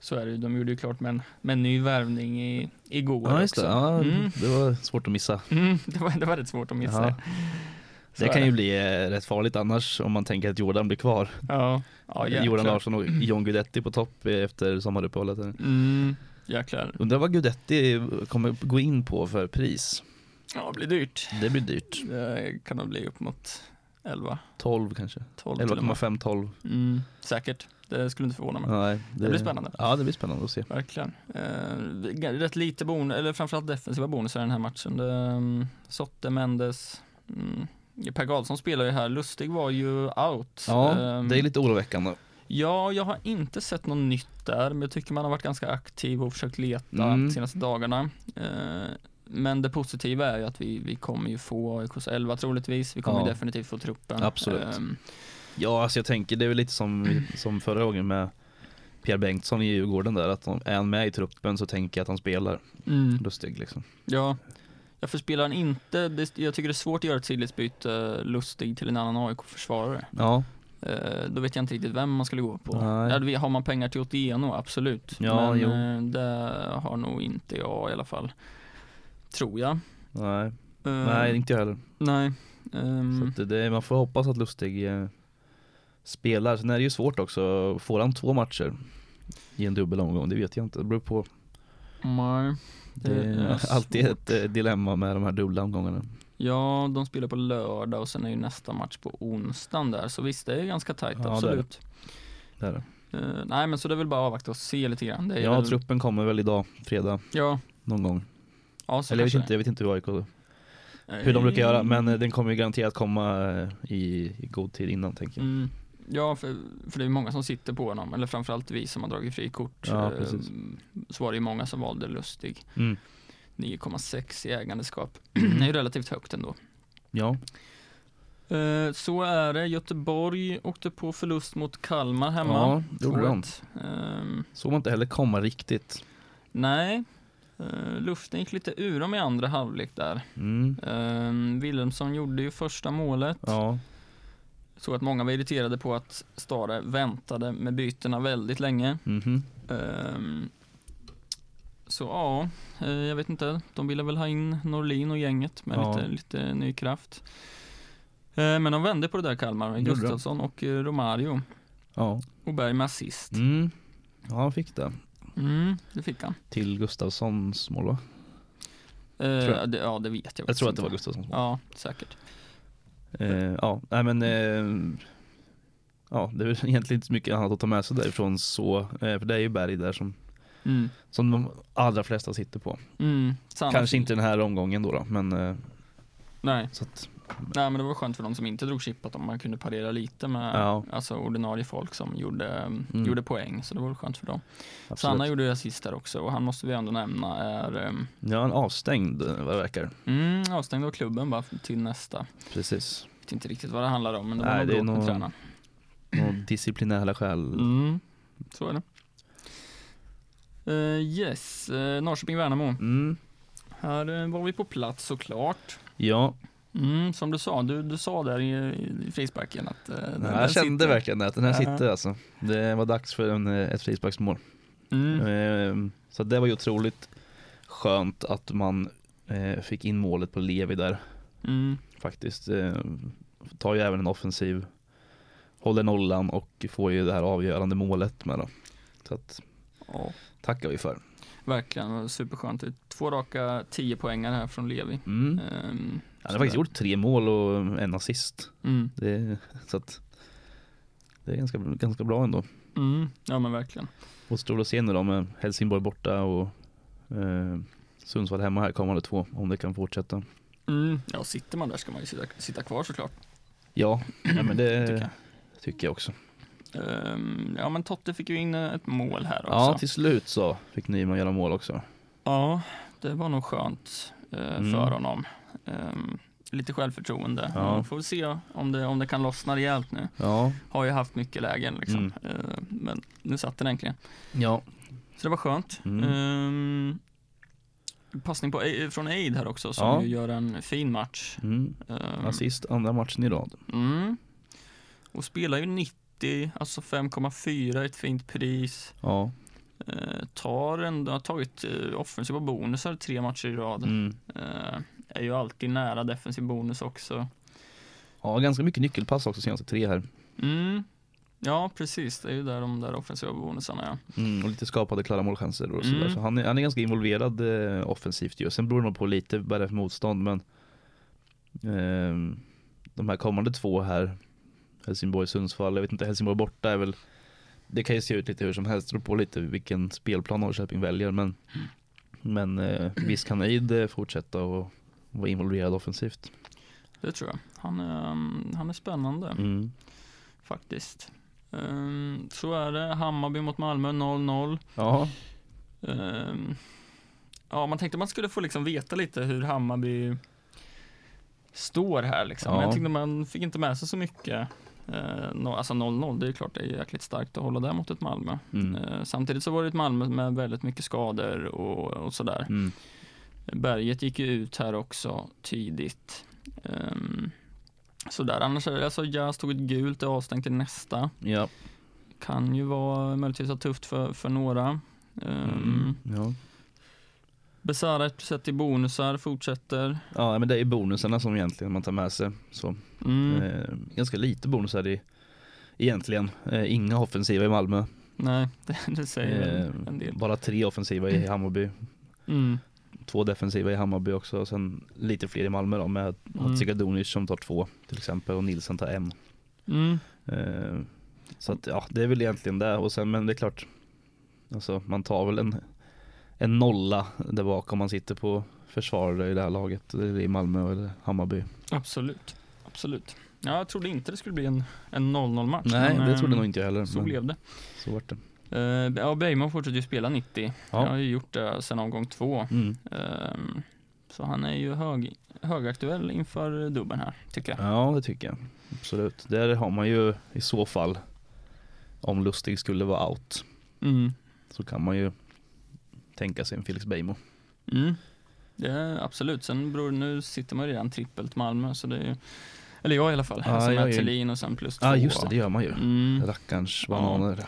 [SPEAKER 3] Så är det ju. De gjorde ju klart med en, med en ny värvning i, igår
[SPEAKER 2] Ja, just
[SPEAKER 3] också.
[SPEAKER 2] det. Ja,
[SPEAKER 3] Mm.
[SPEAKER 2] Det var svårt att missa.
[SPEAKER 3] Mm, det, var, det var rätt svårt att missa.
[SPEAKER 2] Ja.
[SPEAKER 3] Så
[SPEAKER 2] Det
[SPEAKER 3] är
[SPEAKER 2] kan ju bli eh, rätt farligt annars om man tänker att Jordan blir kvar.
[SPEAKER 3] Ja, ja jäklar.
[SPEAKER 2] Jordan Larsson och John Guidetti på topp eh, efter sommaruppehållet. här.
[SPEAKER 3] Mm, jäklar.
[SPEAKER 2] Undrar vad Guidetti kommer gå in på för pris.
[SPEAKER 3] Ja, det blir dyrt.
[SPEAKER 2] Det blir dyrt.
[SPEAKER 3] Det kan nog bli upp mot 11,
[SPEAKER 2] 12 kanske.
[SPEAKER 3] 12 till och med.
[SPEAKER 2] 11,5 12.
[SPEAKER 3] Mm, säkert. Det skulle inte förvåna mig.
[SPEAKER 2] Nej,
[SPEAKER 3] Mm. Det blir spännande.
[SPEAKER 2] Ja, det blir spännande att se.
[SPEAKER 3] Verkligen. Eh, rätt lite bonus, eller framförallt defensiva bonusar i den här matchen. Det, um, Sotte, Mendes, mm, Per Karlsson spelar ju här, Lustig var ju out.
[SPEAKER 2] Ja,
[SPEAKER 3] Ehm,
[SPEAKER 2] det är lite oroväckande.
[SPEAKER 3] ja, jag har inte sett något nytt där, men jag tycker man har varit ganska aktiv och försökt leta
[SPEAKER 2] Mm.
[SPEAKER 3] de senaste dagarna. Ehm, men det positiva är ju att vi, vi kommer ju få AIKs 11 troligtvis, vi kommer
[SPEAKER 2] Ja.
[SPEAKER 3] ju definitivt få truppen.
[SPEAKER 2] Absolut.
[SPEAKER 3] Ehm,
[SPEAKER 2] Ja, alltså jag tänker det är väl lite som, som förra gången med Pierre Bengtsson i Djurgården där, att om- är han med i truppen så tänker jag att han spelar
[SPEAKER 3] mm.
[SPEAKER 2] Lustig liksom.
[SPEAKER 3] Ja, jag förspelar han inte. Det, jag tycker det är svårt att göra ett sidledsbyte Lustig till en annan AIK-försvarare.
[SPEAKER 2] Ja,
[SPEAKER 3] Eh, då vet jag inte riktigt vem man skulle gå på.
[SPEAKER 2] Nej.
[SPEAKER 3] Där vi- har man pengar till Otieno, absolut.
[SPEAKER 2] Ja,
[SPEAKER 3] Men
[SPEAKER 2] jo.
[SPEAKER 3] eh, det har nog inte jag i alla fall. Tror jag. Eh,
[SPEAKER 2] nej,
[SPEAKER 3] Mm.
[SPEAKER 2] nej inte jag heller.
[SPEAKER 3] Nej. Ehm,
[SPEAKER 2] Så att det, det, man får hoppas att Lustig eh, spelar. Sen är det ju svårt också, får han två matcher i en dubbel omgång? Det vet jag inte, det beror på.
[SPEAKER 3] nej.
[SPEAKER 2] Det är
[SPEAKER 3] svårt.
[SPEAKER 2] alltid ett eh, dilemma med de här dubbla omgångarna.
[SPEAKER 3] Ja, de spelar på lördag och sen är ju nästa match på onsdagen där. Så visst, det är ganska tajt,
[SPEAKER 2] Ja, det är
[SPEAKER 3] absolut.
[SPEAKER 2] Det är det.
[SPEAKER 3] Eh, nej, men så det är väl bara att avvakta och se lite grann. Det är
[SPEAKER 2] Ja,
[SPEAKER 3] väl,
[SPEAKER 2] truppen kommer väl idag, fredag,
[SPEAKER 3] Ja,
[SPEAKER 2] någon gång.
[SPEAKER 3] ja så
[SPEAKER 2] Eller jag vet
[SPEAKER 3] kanske
[SPEAKER 2] inte, jag vet inte hur AIK
[SPEAKER 3] det är.
[SPEAKER 2] hur de brukar göra men eh, den kommer ju garanterat komma eh, i, i god tid innan tänker jag.
[SPEAKER 3] Mm. Ja, för, för det är många som sitter på honom, eller framförallt vi som har dragit frikort.
[SPEAKER 2] Ja,
[SPEAKER 3] Eh,
[SPEAKER 2] precis.
[SPEAKER 3] Så var det ju många som valde Lustig.
[SPEAKER 2] Mm.
[SPEAKER 3] 9,6 i ägandeskap. det är ju relativt högt ändå.
[SPEAKER 2] Ja,
[SPEAKER 3] Eh, Så är det. Göteborg åkte på förlust mot Kalmar hemma.
[SPEAKER 2] ja det gjorde de.
[SPEAKER 3] 2-1. Ehm,
[SPEAKER 2] Såg man inte heller komma riktigt.
[SPEAKER 3] Nej, Eh, luften gick lite ur dem i andra halvlek där.
[SPEAKER 2] Mm.
[SPEAKER 3] Ehm, Wilhelmsson gjorde ju första målet.
[SPEAKER 2] Ja,
[SPEAKER 3] Såg att många var irriterade på att Stare väntade med bytena väldigt länge.
[SPEAKER 2] mhm.
[SPEAKER 3] Ehm, så ja, eh, jag vet inte. De ville väl ha in Norlin och gänget med
[SPEAKER 2] Ja.
[SPEAKER 3] lite, lite ny kraft. Eh, men de vände på det där Kalmar.
[SPEAKER 2] de.
[SPEAKER 3] Gustafsson och eh, Romario.
[SPEAKER 2] ja.
[SPEAKER 3] Och Berg med assist.
[SPEAKER 2] Mm. ja, han fick det.
[SPEAKER 3] Mm, det fick han.
[SPEAKER 2] Till Gustafssons mål va?
[SPEAKER 3] Eh,
[SPEAKER 2] Tror jag.
[SPEAKER 3] Det, ja, det vet jag
[SPEAKER 2] Jag
[SPEAKER 3] faktiskt
[SPEAKER 2] tror att det var
[SPEAKER 3] inte.
[SPEAKER 2] Gustafssons mål.
[SPEAKER 3] Ja, säkert.
[SPEAKER 2] Eh, ja, nej men eh, Ja, det är väl egentligen inte så mycket annat att ta med sig därifrån så, eh, för det är ju berg där som,
[SPEAKER 3] Mm.
[SPEAKER 2] som de allra flesta sitter på.
[SPEAKER 3] Mm, Sanna-
[SPEAKER 2] Kanske inte den här omgången då, då men eh,
[SPEAKER 3] Nej.
[SPEAKER 2] så att,
[SPEAKER 3] Nej, men det var skönt för de som inte drog chip att de- man kunde parera lite med
[SPEAKER 2] Ja.
[SPEAKER 3] alltså, ordinarie folk som gjorde,
[SPEAKER 2] Mm.
[SPEAKER 3] gjorde poäng. Så det var väl skönt för dem.
[SPEAKER 2] absolut.
[SPEAKER 3] Sanna gjorde ju assist där också och han måste vi ändå nämna är ehm,
[SPEAKER 2] Ja, han är avstängd eh, vad det verkar.
[SPEAKER 3] mm, avstängd av klubben bara till nästa.
[SPEAKER 2] Precis.
[SPEAKER 3] Jag vet inte riktigt vad det handlar om men det var
[SPEAKER 2] Nej,
[SPEAKER 3] nog
[SPEAKER 2] det är
[SPEAKER 3] bråk med
[SPEAKER 2] nog-
[SPEAKER 3] tränaren.
[SPEAKER 2] Några disciplinära skäl.
[SPEAKER 3] Mm, så är det. Eh, yes, uh, Norrköping-Värnamo.
[SPEAKER 2] Mm.
[SPEAKER 3] Här eh, var vi på plats såklart.
[SPEAKER 2] Ja,
[SPEAKER 3] Mm, som du sa, du, du sa där i, i frisparken att eh, den
[SPEAKER 2] jag
[SPEAKER 3] där
[SPEAKER 2] kände
[SPEAKER 3] sitter.
[SPEAKER 2] verkligen att den här
[SPEAKER 3] Ja.
[SPEAKER 2] sitter alltså. Det var dags för en, eh, ett frisparksmål.
[SPEAKER 3] Mm,
[SPEAKER 2] Eh, Så det var ju otroligt skönt att man eh, fick in målet på Levi där
[SPEAKER 3] mm,
[SPEAKER 2] faktiskt. Eh, Tar ju även en offensiv, håller nollan och får ju det här avgörande målet med då. Så att,
[SPEAKER 3] ja,
[SPEAKER 2] tackar vi för.
[SPEAKER 3] verkligen, det var superskönt. Två raka 10 poängar här från Levi.
[SPEAKER 2] Mm.
[SPEAKER 3] Ehm,
[SPEAKER 2] Han har faktiskt gjort tre mål och en assist.
[SPEAKER 3] mm.
[SPEAKER 2] Det, så att, det är ganska, ganska bra ändå.
[SPEAKER 3] Mm, ja men verkligen.
[SPEAKER 2] Återstår att se nu då med Helsingborg borta och eh, Sundsvall hemma här kommande två om det kan fortsätta.
[SPEAKER 3] Mm. Ja, sitter man där ska man ju sitta, sitta kvar såklart.
[SPEAKER 2] Ja, nej, men det
[SPEAKER 3] Tycker
[SPEAKER 2] tycker
[SPEAKER 3] jag.
[SPEAKER 2] jag, också.
[SPEAKER 3] Ehm, ja men Totte fick ju in eh, ett mål här också.
[SPEAKER 2] Ja, till slut så fick Nyman göra mål också.
[SPEAKER 3] Ja, det var nog skönt eh,
[SPEAKER 2] Mm.
[SPEAKER 3] för honom. Ehm, lite självförtroende.
[SPEAKER 2] Ja.
[SPEAKER 3] Ja. Får vi se om det, om det kan lossna rejält nu.
[SPEAKER 2] Ja,
[SPEAKER 3] Har ju haft mycket lägen liksom.
[SPEAKER 2] Mm.
[SPEAKER 3] Ehm, men nu satt den äntligen.
[SPEAKER 2] ja.
[SPEAKER 3] Så det var skönt.
[SPEAKER 2] Mm.
[SPEAKER 3] Ehm, passning på, eh, från Eid här också som
[SPEAKER 2] Ja.
[SPEAKER 3] ju gör en fin match.
[SPEAKER 2] Mm.
[SPEAKER 3] Ehm,
[SPEAKER 2] Assist andra matchen i rad.
[SPEAKER 3] Mm. Och spelar ju 90, alltså 5,4, ett fint pris.
[SPEAKER 2] Ja,
[SPEAKER 3] Eh, tar en, har tagit eh, offensiva bonusar tre matcher i rad.
[SPEAKER 2] mm.
[SPEAKER 3] Eh, är ju alltid nära defensiv bonus också.
[SPEAKER 2] ja ganska mycket nyckelpass också senaste tre här.
[SPEAKER 3] Mm. Ja, precis. Det är ju där de där offensiva bonusarna är.
[SPEAKER 2] Mm, och lite skapade klara målchanser och sådär.
[SPEAKER 3] Mm.
[SPEAKER 2] Så han är, han är ganska involverad eh, offensivt ju. Sen beror det nog på lite vad det är för motstånd men ehm, De här kommande två här Helsingborg, Sundsvall, jag vet inte, Helsingborg borta är väl Det kan ju se ut lite hur som helst, det beror på lite vilken spelplan Norrköping väljer men Men eh, visst kan Eid eh, fortsätta och vara involverad offensivt.
[SPEAKER 3] Det tror jag. Han är, um, han är spännande
[SPEAKER 2] Mm.
[SPEAKER 3] faktiskt. Ehm, så är det. Hammarby mot Malmö 0-0.
[SPEAKER 2] Ja,
[SPEAKER 3] Ehm, ja, man tänkte man skulle få liksom veta lite hur Hammarby står här liksom. Men
[SPEAKER 2] Ja.
[SPEAKER 3] jag tyckte man fick inte med sig så mycket. Eh, no, alltså 0-0, det är klart det är jäkligt starkt att hålla där mot ett Malmö.
[SPEAKER 2] mm.
[SPEAKER 3] Eh, samtidigt så var det ett Malmö med väldigt mycket skador och, och sådär.
[SPEAKER 2] Mm.
[SPEAKER 3] Berget gick ju ut här också tidigt. Um, sådär, annars är det alltså Jas tog ett gult, är avstängd till nästa.
[SPEAKER 2] ja.
[SPEAKER 3] Kan ju vara möjligtvis ha tufft för, för några. Um,
[SPEAKER 2] Mm. ja.
[SPEAKER 3] Besara ett sätt i bonusar, fortsätter.
[SPEAKER 2] Ja men det är bonusarna som egentligen man tar med sig. Så,
[SPEAKER 3] Mm,
[SPEAKER 2] eh, ganska lite bonusar i, egentligen. Eh, inga offensiva i Malmö.
[SPEAKER 3] Nej, det, det säger
[SPEAKER 2] Eh,
[SPEAKER 3] en- en del.
[SPEAKER 2] bara tre offensiva i Hammarby.
[SPEAKER 3] Mm,
[SPEAKER 2] Två defensiva i Hammarby också. Och sen lite fler i Malmö då med
[SPEAKER 3] Mm.
[SPEAKER 2] Hatzikadunic som tar två till exempel och Nilsson tar en.
[SPEAKER 3] mm,
[SPEAKER 2] Eh, så att ja, det är väl egentligen det. Och sen, men det är klart, alltså, man tar väl en, en nolla där bak om man sitter på försvarare i det här laget. Eller i Malmö eller Hammarby.
[SPEAKER 3] absolut. Absolut. Ja, jag trodde inte det skulle bli en, en 0-0 match.
[SPEAKER 2] Nej,
[SPEAKER 3] men,
[SPEAKER 2] det trodde
[SPEAKER 3] ehm,
[SPEAKER 2] nog inte jag heller.
[SPEAKER 3] Så
[SPEAKER 2] men
[SPEAKER 3] blev det.
[SPEAKER 2] så vart det.
[SPEAKER 3] Uh, ja, Bergman fortsätter ju spela 90. Jag har
[SPEAKER 2] Ja.
[SPEAKER 3] ju gjort det sedan omgång två.
[SPEAKER 2] Mm.
[SPEAKER 3] Ehm, Så han är ju hög, högaktuell inför dubben här, tycker jag.
[SPEAKER 2] Ja, det tycker jag. Absolut. Där har man ju i så fall, om Lustig skulle vara out,
[SPEAKER 3] Mm.
[SPEAKER 2] så kan man ju tänka sig en Felix Beijmo.
[SPEAKER 3] Mm. Det är absolut. Sen beror, nu sitter man ju redan trippelt Malmö, så det är ju, eller jag i alla fall,
[SPEAKER 2] Ja,
[SPEAKER 3] som
[SPEAKER 2] jag är
[SPEAKER 3] är
[SPEAKER 2] ju-
[SPEAKER 3] Thelin och sen plus två.
[SPEAKER 2] Ja, ah, just det, det gör man ju.
[SPEAKER 3] Mm.
[SPEAKER 2] Rackarns
[SPEAKER 3] Ja.
[SPEAKER 2] bananer.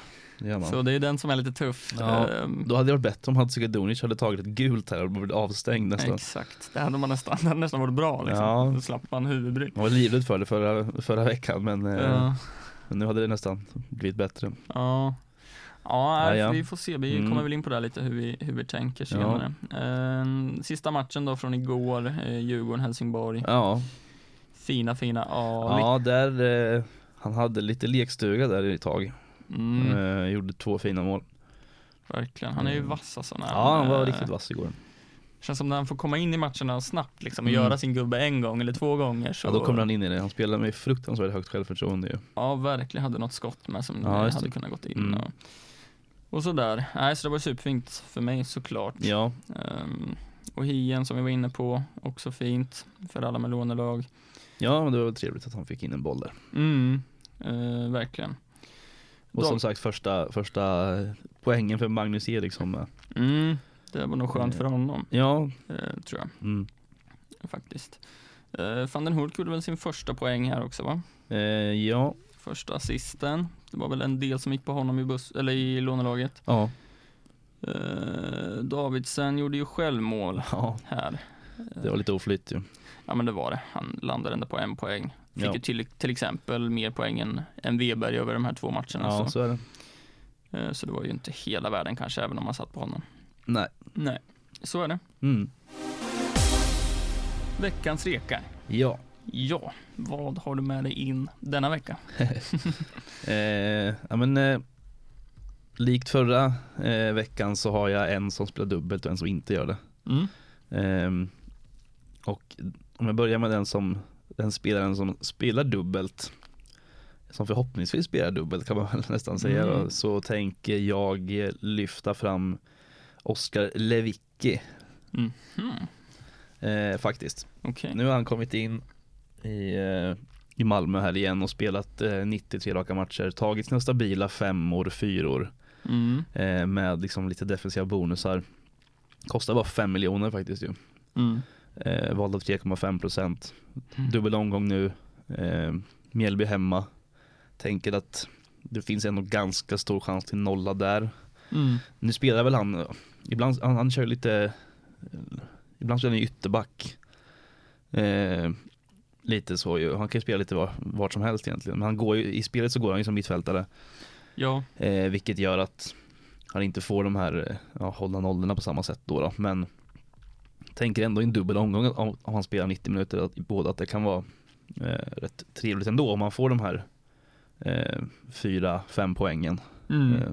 [SPEAKER 2] Det gör man.
[SPEAKER 3] Så det är den som är lite tuff.
[SPEAKER 2] Ja,
[SPEAKER 3] Ehm,
[SPEAKER 2] Då hade det varit bättre om Hadzikadunic hade tagit ett gult här och blivit avstängd nästan.
[SPEAKER 3] Exakt, det hade man nästan, det hade nästan varit bra liksom.
[SPEAKER 2] Ja.
[SPEAKER 3] Då slapp man huvudbry.
[SPEAKER 2] Man var livrädd för det förra, förra veckan men eh,
[SPEAKER 3] Ja,
[SPEAKER 2] nu hade det nästan blivit bättre.
[SPEAKER 3] ja. Ja,
[SPEAKER 2] Ja, ja.
[SPEAKER 3] vi får se. Vi
[SPEAKER 2] Mm.
[SPEAKER 3] kommer väl in på det här lite hur vi, hur vi tänker senare. Ehm, sista matchen då från igår, eh, Djurgården-Helsingborg.
[SPEAKER 2] Ja,
[SPEAKER 3] Fina, fina Ali.
[SPEAKER 2] ja där, eh, han hade lite lekstuga där ett tag.
[SPEAKER 3] Mm,
[SPEAKER 2] Eh, gjorde två fina mål.
[SPEAKER 3] Verkligen, han är ju
[SPEAKER 2] Mm.
[SPEAKER 3] vass alltså när
[SPEAKER 2] Ja, han var
[SPEAKER 3] eh,
[SPEAKER 2] riktigt vass igår.
[SPEAKER 3] Känns som när han får komma in i matcherna snabbt liksom och
[SPEAKER 2] Mm.
[SPEAKER 3] göra sin gubbe en gång eller två gånger så
[SPEAKER 2] Ja, då kommer han in i det. Han spelar med fruktansvärt högt självförtroende ju.
[SPEAKER 3] Ja, verkligen hade något skott med som
[SPEAKER 2] Ja,
[SPEAKER 3] eh,
[SPEAKER 2] just
[SPEAKER 3] hade
[SPEAKER 2] det.
[SPEAKER 3] kunnat gått in
[SPEAKER 2] Mm.
[SPEAKER 3] och, och sådär. Nej, så det var superfint för mig såklart.
[SPEAKER 2] Ja,
[SPEAKER 3] Ehm, och Hien som vi var inne på, också fint för alla med lånelag.
[SPEAKER 2] ja men det var väl trevligt att han fick in en boll där.
[SPEAKER 3] Mm, eh, verkligen.
[SPEAKER 2] Och
[SPEAKER 3] Dal-
[SPEAKER 2] som sagt första, första eh, poängen för Magnus Eriksson med.
[SPEAKER 3] mm, det var nog skönt för honom,
[SPEAKER 2] Ja,
[SPEAKER 3] eh, tror jag.
[SPEAKER 2] mm.
[SPEAKER 3] faktiskt. Eh, Van den Hult gjorde väl sin första poäng här också va?
[SPEAKER 2] eh, ja,
[SPEAKER 3] Första assisten. Det var väl en del som gick på honom i, buss, eller i lånelaget.
[SPEAKER 2] ja,
[SPEAKER 3] Eh, Davidsen gjorde ju självmål
[SPEAKER 2] ja,
[SPEAKER 3] här. Eh,
[SPEAKER 2] det var lite oflytt ju.
[SPEAKER 3] Ja men det var det. Han landade ändå på en poäng. Fick
[SPEAKER 2] Ja.
[SPEAKER 3] ju till, till exempel mer poäng än, än Weberg över de här två matcherna.
[SPEAKER 2] Ja,
[SPEAKER 3] så.
[SPEAKER 2] så är det.
[SPEAKER 3] Eh, så det var ju inte hela världen kanske även om man satt på honom.
[SPEAKER 2] Nej.
[SPEAKER 3] Nej, så är det.
[SPEAKER 2] Mm.
[SPEAKER 3] Veckans rekar.
[SPEAKER 2] Ja,
[SPEAKER 3] Ja, vad har du med dig in denna vecka?
[SPEAKER 2] eh, ja men eh, likt förra eh, veckan så har jag en som spelar dubbelt och en som inte gör det.
[SPEAKER 3] Mm.
[SPEAKER 2] Ehm, och om jag börjar med den som den spelaren som spelar dubbelt som förhoppningsvis spelar dubbelt kan man väl nästan säga
[SPEAKER 3] Mm.
[SPEAKER 2] då, så tänker jag lyfta fram Oskar Lewicki
[SPEAKER 3] Mhm,
[SPEAKER 2] eh, faktiskt.
[SPEAKER 3] Okej.
[SPEAKER 2] Nu har han kommit in i, eh, i Malmö här igen och spelat eh, 93 raka matcher, tagit sina stabila femmor, fyror
[SPEAKER 3] Mm.
[SPEAKER 2] eh, med liksom lite defensiva bonusar. Kostar bara 5 miljoner faktiskt ju.
[SPEAKER 3] Mm.
[SPEAKER 2] Eh, valde 3,5 procent.
[SPEAKER 3] Mm.
[SPEAKER 2] Dubbel omgång nu. Eh, Mjällby hemma. Tänker att det finns ändå ganska stor chans till nolla där.
[SPEAKER 3] Mm.
[SPEAKER 2] Nu spelar väl han, eh, ibland, han, han kör lite, eh, ibland spelar han ju ytterback. Eh, lite så ju, han kan ju spela lite var, vart som helst egentligen. Men han går ju, i spelet så går han ju som mittfältare.
[SPEAKER 3] Ja,
[SPEAKER 2] Eh, vilket gör att han inte får de här eh, ja, hålla nollorna på samma sätt då, då. Men tänker ändå i en dubbel omgång att om, om han spelar 90 minuter att, i båda att det kan vara eh, rätt trevligt ändå om man får de här eh, fyra, fem poängen.
[SPEAKER 3] Mm.
[SPEAKER 2] Eh,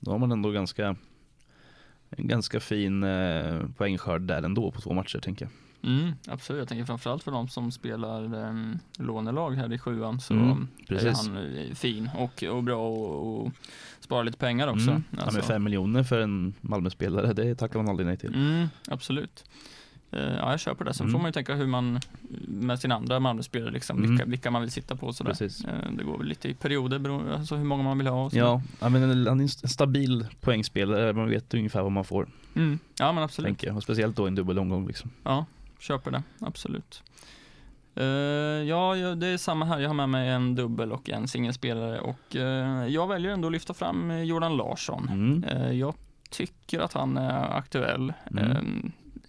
[SPEAKER 2] då har man ändå ganska en ganska fin eh, poängskörd där ändå på två matcher tänker jag.
[SPEAKER 3] Mm, absolut, jag tänker framförallt för de som spelar um, lånelag här i sjuan så
[SPEAKER 2] Mm,
[SPEAKER 3] är
[SPEAKER 2] precis.
[SPEAKER 3] han eh, fin och, och bra och, och sparar lite pengar också.
[SPEAKER 2] Mm. Ja, men
[SPEAKER 3] Alltså,
[SPEAKER 2] fem miljoner för en Malmö-spelare, det tackar man aldrig nej till.
[SPEAKER 3] Mm, absolut. Eh, ja, jag köper det. Sen
[SPEAKER 2] Mm.
[SPEAKER 3] får man ju tänka hur man eh, med sina andra Malmöspelare, liksom,
[SPEAKER 2] Mm.
[SPEAKER 3] vilka, vilka man vill sitta på och sådär.
[SPEAKER 2] Precis.
[SPEAKER 3] Eh, det går väl lite i perioder beroende alltså hur många man vill ha och sådär.
[SPEAKER 2] Ja, ja, men han är en st- stabil poängspelare, man vet ungefär vad man får,
[SPEAKER 3] Mm. ja, men absolut.
[SPEAKER 2] tänker jag. Och speciellt då i en dubbelomgång liksom.
[SPEAKER 3] Ja, köper det. Absolut. Eh, ja, ja, det är samma här. Jag har med mig en dubbel och en singelspelare och eh, jag väljer ändå att lyfta fram eh, Jordan Larsson.
[SPEAKER 2] Mm.
[SPEAKER 3] Eh, jag tycker att han är aktuell.
[SPEAKER 2] Mm.
[SPEAKER 3] Eh,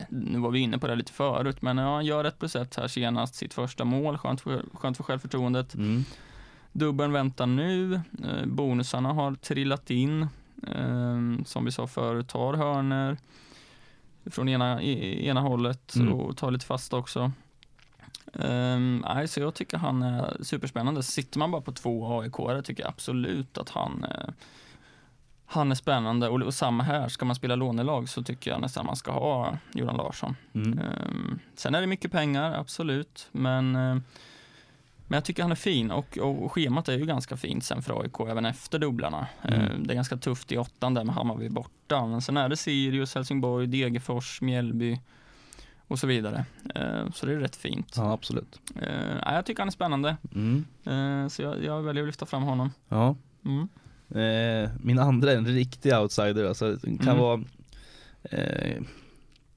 [SPEAKER 3] nu var vi inne på det lite förut, men ja, han gör ett plus ett här senast, sitt första mål. Skönt för, skönt för självförtroendet.
[SPEAKER 2] Mm.
[SPEAKER 3] Dubbeln väntar nu. Eh, bonusarna har trillat in. Eh, som vi sa förut, tar hörner från ena, i, ena hållet
[SPEAKER 2] Mm.
[SPEAKER 3] och tar lite fasta också. Ehm, nej, så jag tycker han är superspännande. Sitter man bara på två aik tycker jag absolut att han eh, han är spännande och, och samma här, ska man spela lånelag så tycker jag nästan man ska ha Jordan Larsson.
[SPEAKER 2] Mm.
[SPEAKER 3] Ehm, sen är det mycket pengar, absolut, men, eh, men jag tycker han är fin och, och schemat är ju ganska fint sen för AIK även efter dubblarna.
[SPEAKER 2] Mm.
[SPEAKER 3] Ehm, det är ganska tufft i åttan där med Hammarby borta, men sen är det Sirius, Helsingborg, Degerfors, Mjällby och så vidare. Ehm, så det är rätt fint.
[SPEAKER 2] Ja, absolut.
[SPEAKER 3] Ehm, nej, jag tycker han är spännande,
[SPEAKER 2] Mm.
[SPEAKER 3] Ehm, så jag, jag väljer att lyfta fram honom.
[SPEAKER 2] Ja.
[SPEAKER 3] Mm.
[SPEAKER 2] Eh, min andra är en riktig outsider, alltså det kan
[SPEAKER 3] Mm.
[SPEAKER 2] vara eh,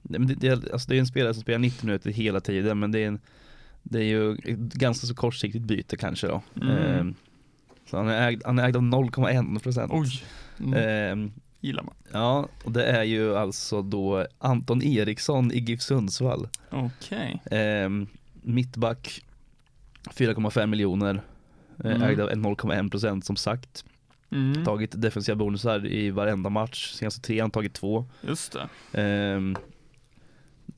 [SPEAKER 2] nej, men det, det, är- alltså, det är en spelare som spelar 90 minuter hela tiden men det är, en, det är ju ett ganska så kortsiktigt byte kanske då.
[SPEAKER 3] Mm.
[SPEAKER 2] Eh, så han är ägd, han är ägd av 0,1 procent.
[SPEAKER 3] Oj, mm.
[SPEAKER 2] Eh,
[SPEAKER 3] gillar man.
[SPEAKER 2] ja, och det är ju alltså då Anton Eriksson i GIF Sundsvall.
[SPEAKER 3] Okej.
[SPEAKER 2] Eh, mittback, 4,5 miljoner, eh,
[SPEAKER 3] Mm.
[SPEAKER 2] ägd av 0,1 procent som sagt.
[SPEAKER 3] Mm.
[SPEAKER 2] Tagit defensiva bonusar i varenda match, senaste tre har han tagit två.
[SPEAKER 3] Just det.
[SPEAKER 2] Ehm,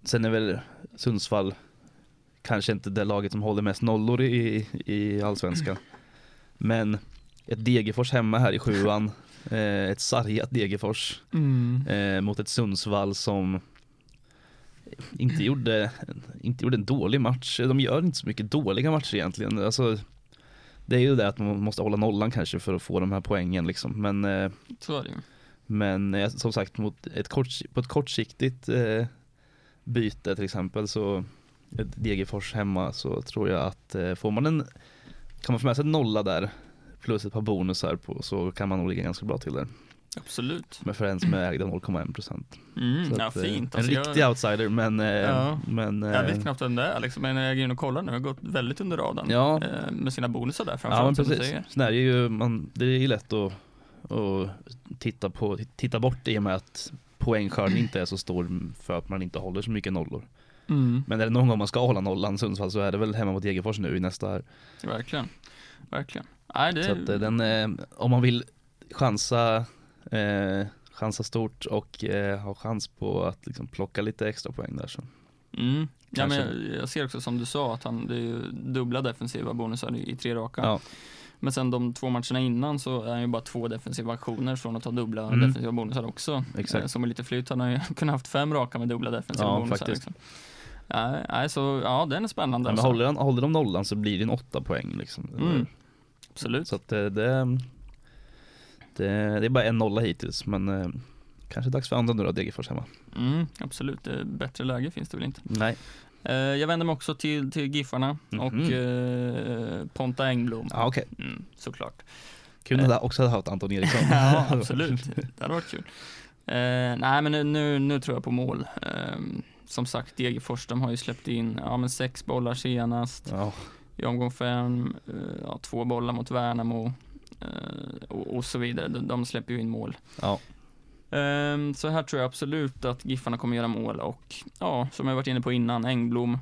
[SPEAKER 2] sen är väl Sundsvall kanske inte det laget som håller mest nollor i, i allsvenskan. Men ett Degerfors hemma här i sjuan, eh, ett sargat Degerfors eh, mot ett Sundsvall som inte gjorde, inte gjorde en dålig match. De gör inte så mycket dåliga matcher egentligen. Alltså, det är ju det där att man måste hålla nollan kanske för att få de här poängen liksom. Men eh,
[SPEAKER 3] Så är det ju.
[SPEAKER 2] men eh, som sagt, mot ett kort, på ett kortsiktigt eh, byte till exempel så ett Degerfors hemma så tror jag att eh, får man en, kan man få med sig en nolla där plus ett par bonusar på, så kan man nog ligga ganska bra till där.
[SPEAKER 3] Absolut.
[SPEAKER 2] Men för en som är ägd av 0,1 procent.
[SPEAKER 3] Mm, ja, fint.
[SPEAKER 2] eh, En
[SPEAKER 3] Alltså, jag,
[SPEAKER 2] riktig outsider men, eh,
[SPEAKER 3] Ja.
[SPEAKER 2] men eh,
[SPEAKER 3] jag vet knappt vem det är liksom, men jag går in och kollar nu. Det har gått väldigt under radarn.
[SPEAKER 2] ja,
[SPEAKER 3] Eh, Med sina bonusar där
[SPEAKER 2] ja men
[SPEAKER 3] framförallt. som du
[SPEAKER 2] precis.
[SPEAKER 3] säger.
[SPEAKER 2] Sån här är ju, man, det är ju lätt att, att titta, på, titta bort i och med att poängskörden inte är så stor för att man inte håller så mycket nollor.
[SPEAKER 3] Mm,
[SPEAKER 2] Men är det någon gång man ska hålla nollan Sundsvall så är det väl hemma mot Degerfors nu i nästa här.
[SPEAKER 3] verkligen. Verkligen. Nej, det
[SPEAKER 2] Så att eh, den, eh, om man vill chansa, eh, chansa stort och eh, ha chans på att liksom plocka lite extra poäng där så.
[SPEAKER 3] mm. ja, men
[SPEAKER 2] kanske-
[SPEAKER 3] jag, jag ser också som du sa att han, det är ju dubbla defensiva bonusar i, i tre raka.
[SPEAKER 2] Ja.
[SPEAKER 3] Men sen de två matcherna innan så är han ju bara två defensiva aktioner från att ha dubbla
[SPEAKER 2] Mm.
[SPEAKER 3] defensiva bonusar också.
[SPEAKER 2] Exakt.
[SPEAKER 3] Eh, Som är lite flyt, han har ju kunnat haft fem raka med dubbla defensiva
[SPEAKER 2] Ja,
[SPEAKER 3] bonusar.
[SPEAKER 2] faktiskt.
[SPEAKER 3] Liksom. Nej, nej, så ja, den är spännande.
[SPEAKER 2] Men
[SPEAKER 3] alltså.
[SPEAKER 2] håller, han, håller de nollan så blir det en åtta poäng liksom.
[SPEAKER 3] Mm. Absolut.
[SPEAKER 2] Så att eh, det, det, det är bara en nolla hittills men eh, kanske dags för andra nu då Degerfors hemma.
[SPEAKER 3] Mm, absolut, Eh, bättre läge finns det väl inte.
[SPEAKER 2] Nej.
[SPEAKER 3] Eh, Jag vänder mig också till, till Giffarna
[SPEAKER 2] Mhm.
[SPEAKER 3] och eh, Ponta Engblom.
[SPEAKER 2] Ja okej, Eh.
[SPEAKER 3] Mm, såklart.
[SPEAKER 2] kul att jag också hade haft Anton Eriksson.
[SPEAKER 3] Ja, absolut. Det hade varit kul. Eh, nej, men nu- nu, nu tror jag på mål. Eh, som sagt, Degerfors, de har ju släppt in ja, men sex bollar senast
[SPEAKER 2] Ja,
[SPEAKER 3] i omgång fem, eh, ja, två bollar mot Värnamo eh, och, och så vidare. De, de släpper ju in mål.
[SPEAKER 2] ja.
[SPEAKER 3] Ehm, så här tror jag absolut att Giffarna kommer göra mål och ja, som jag varit inne på innan, Engblom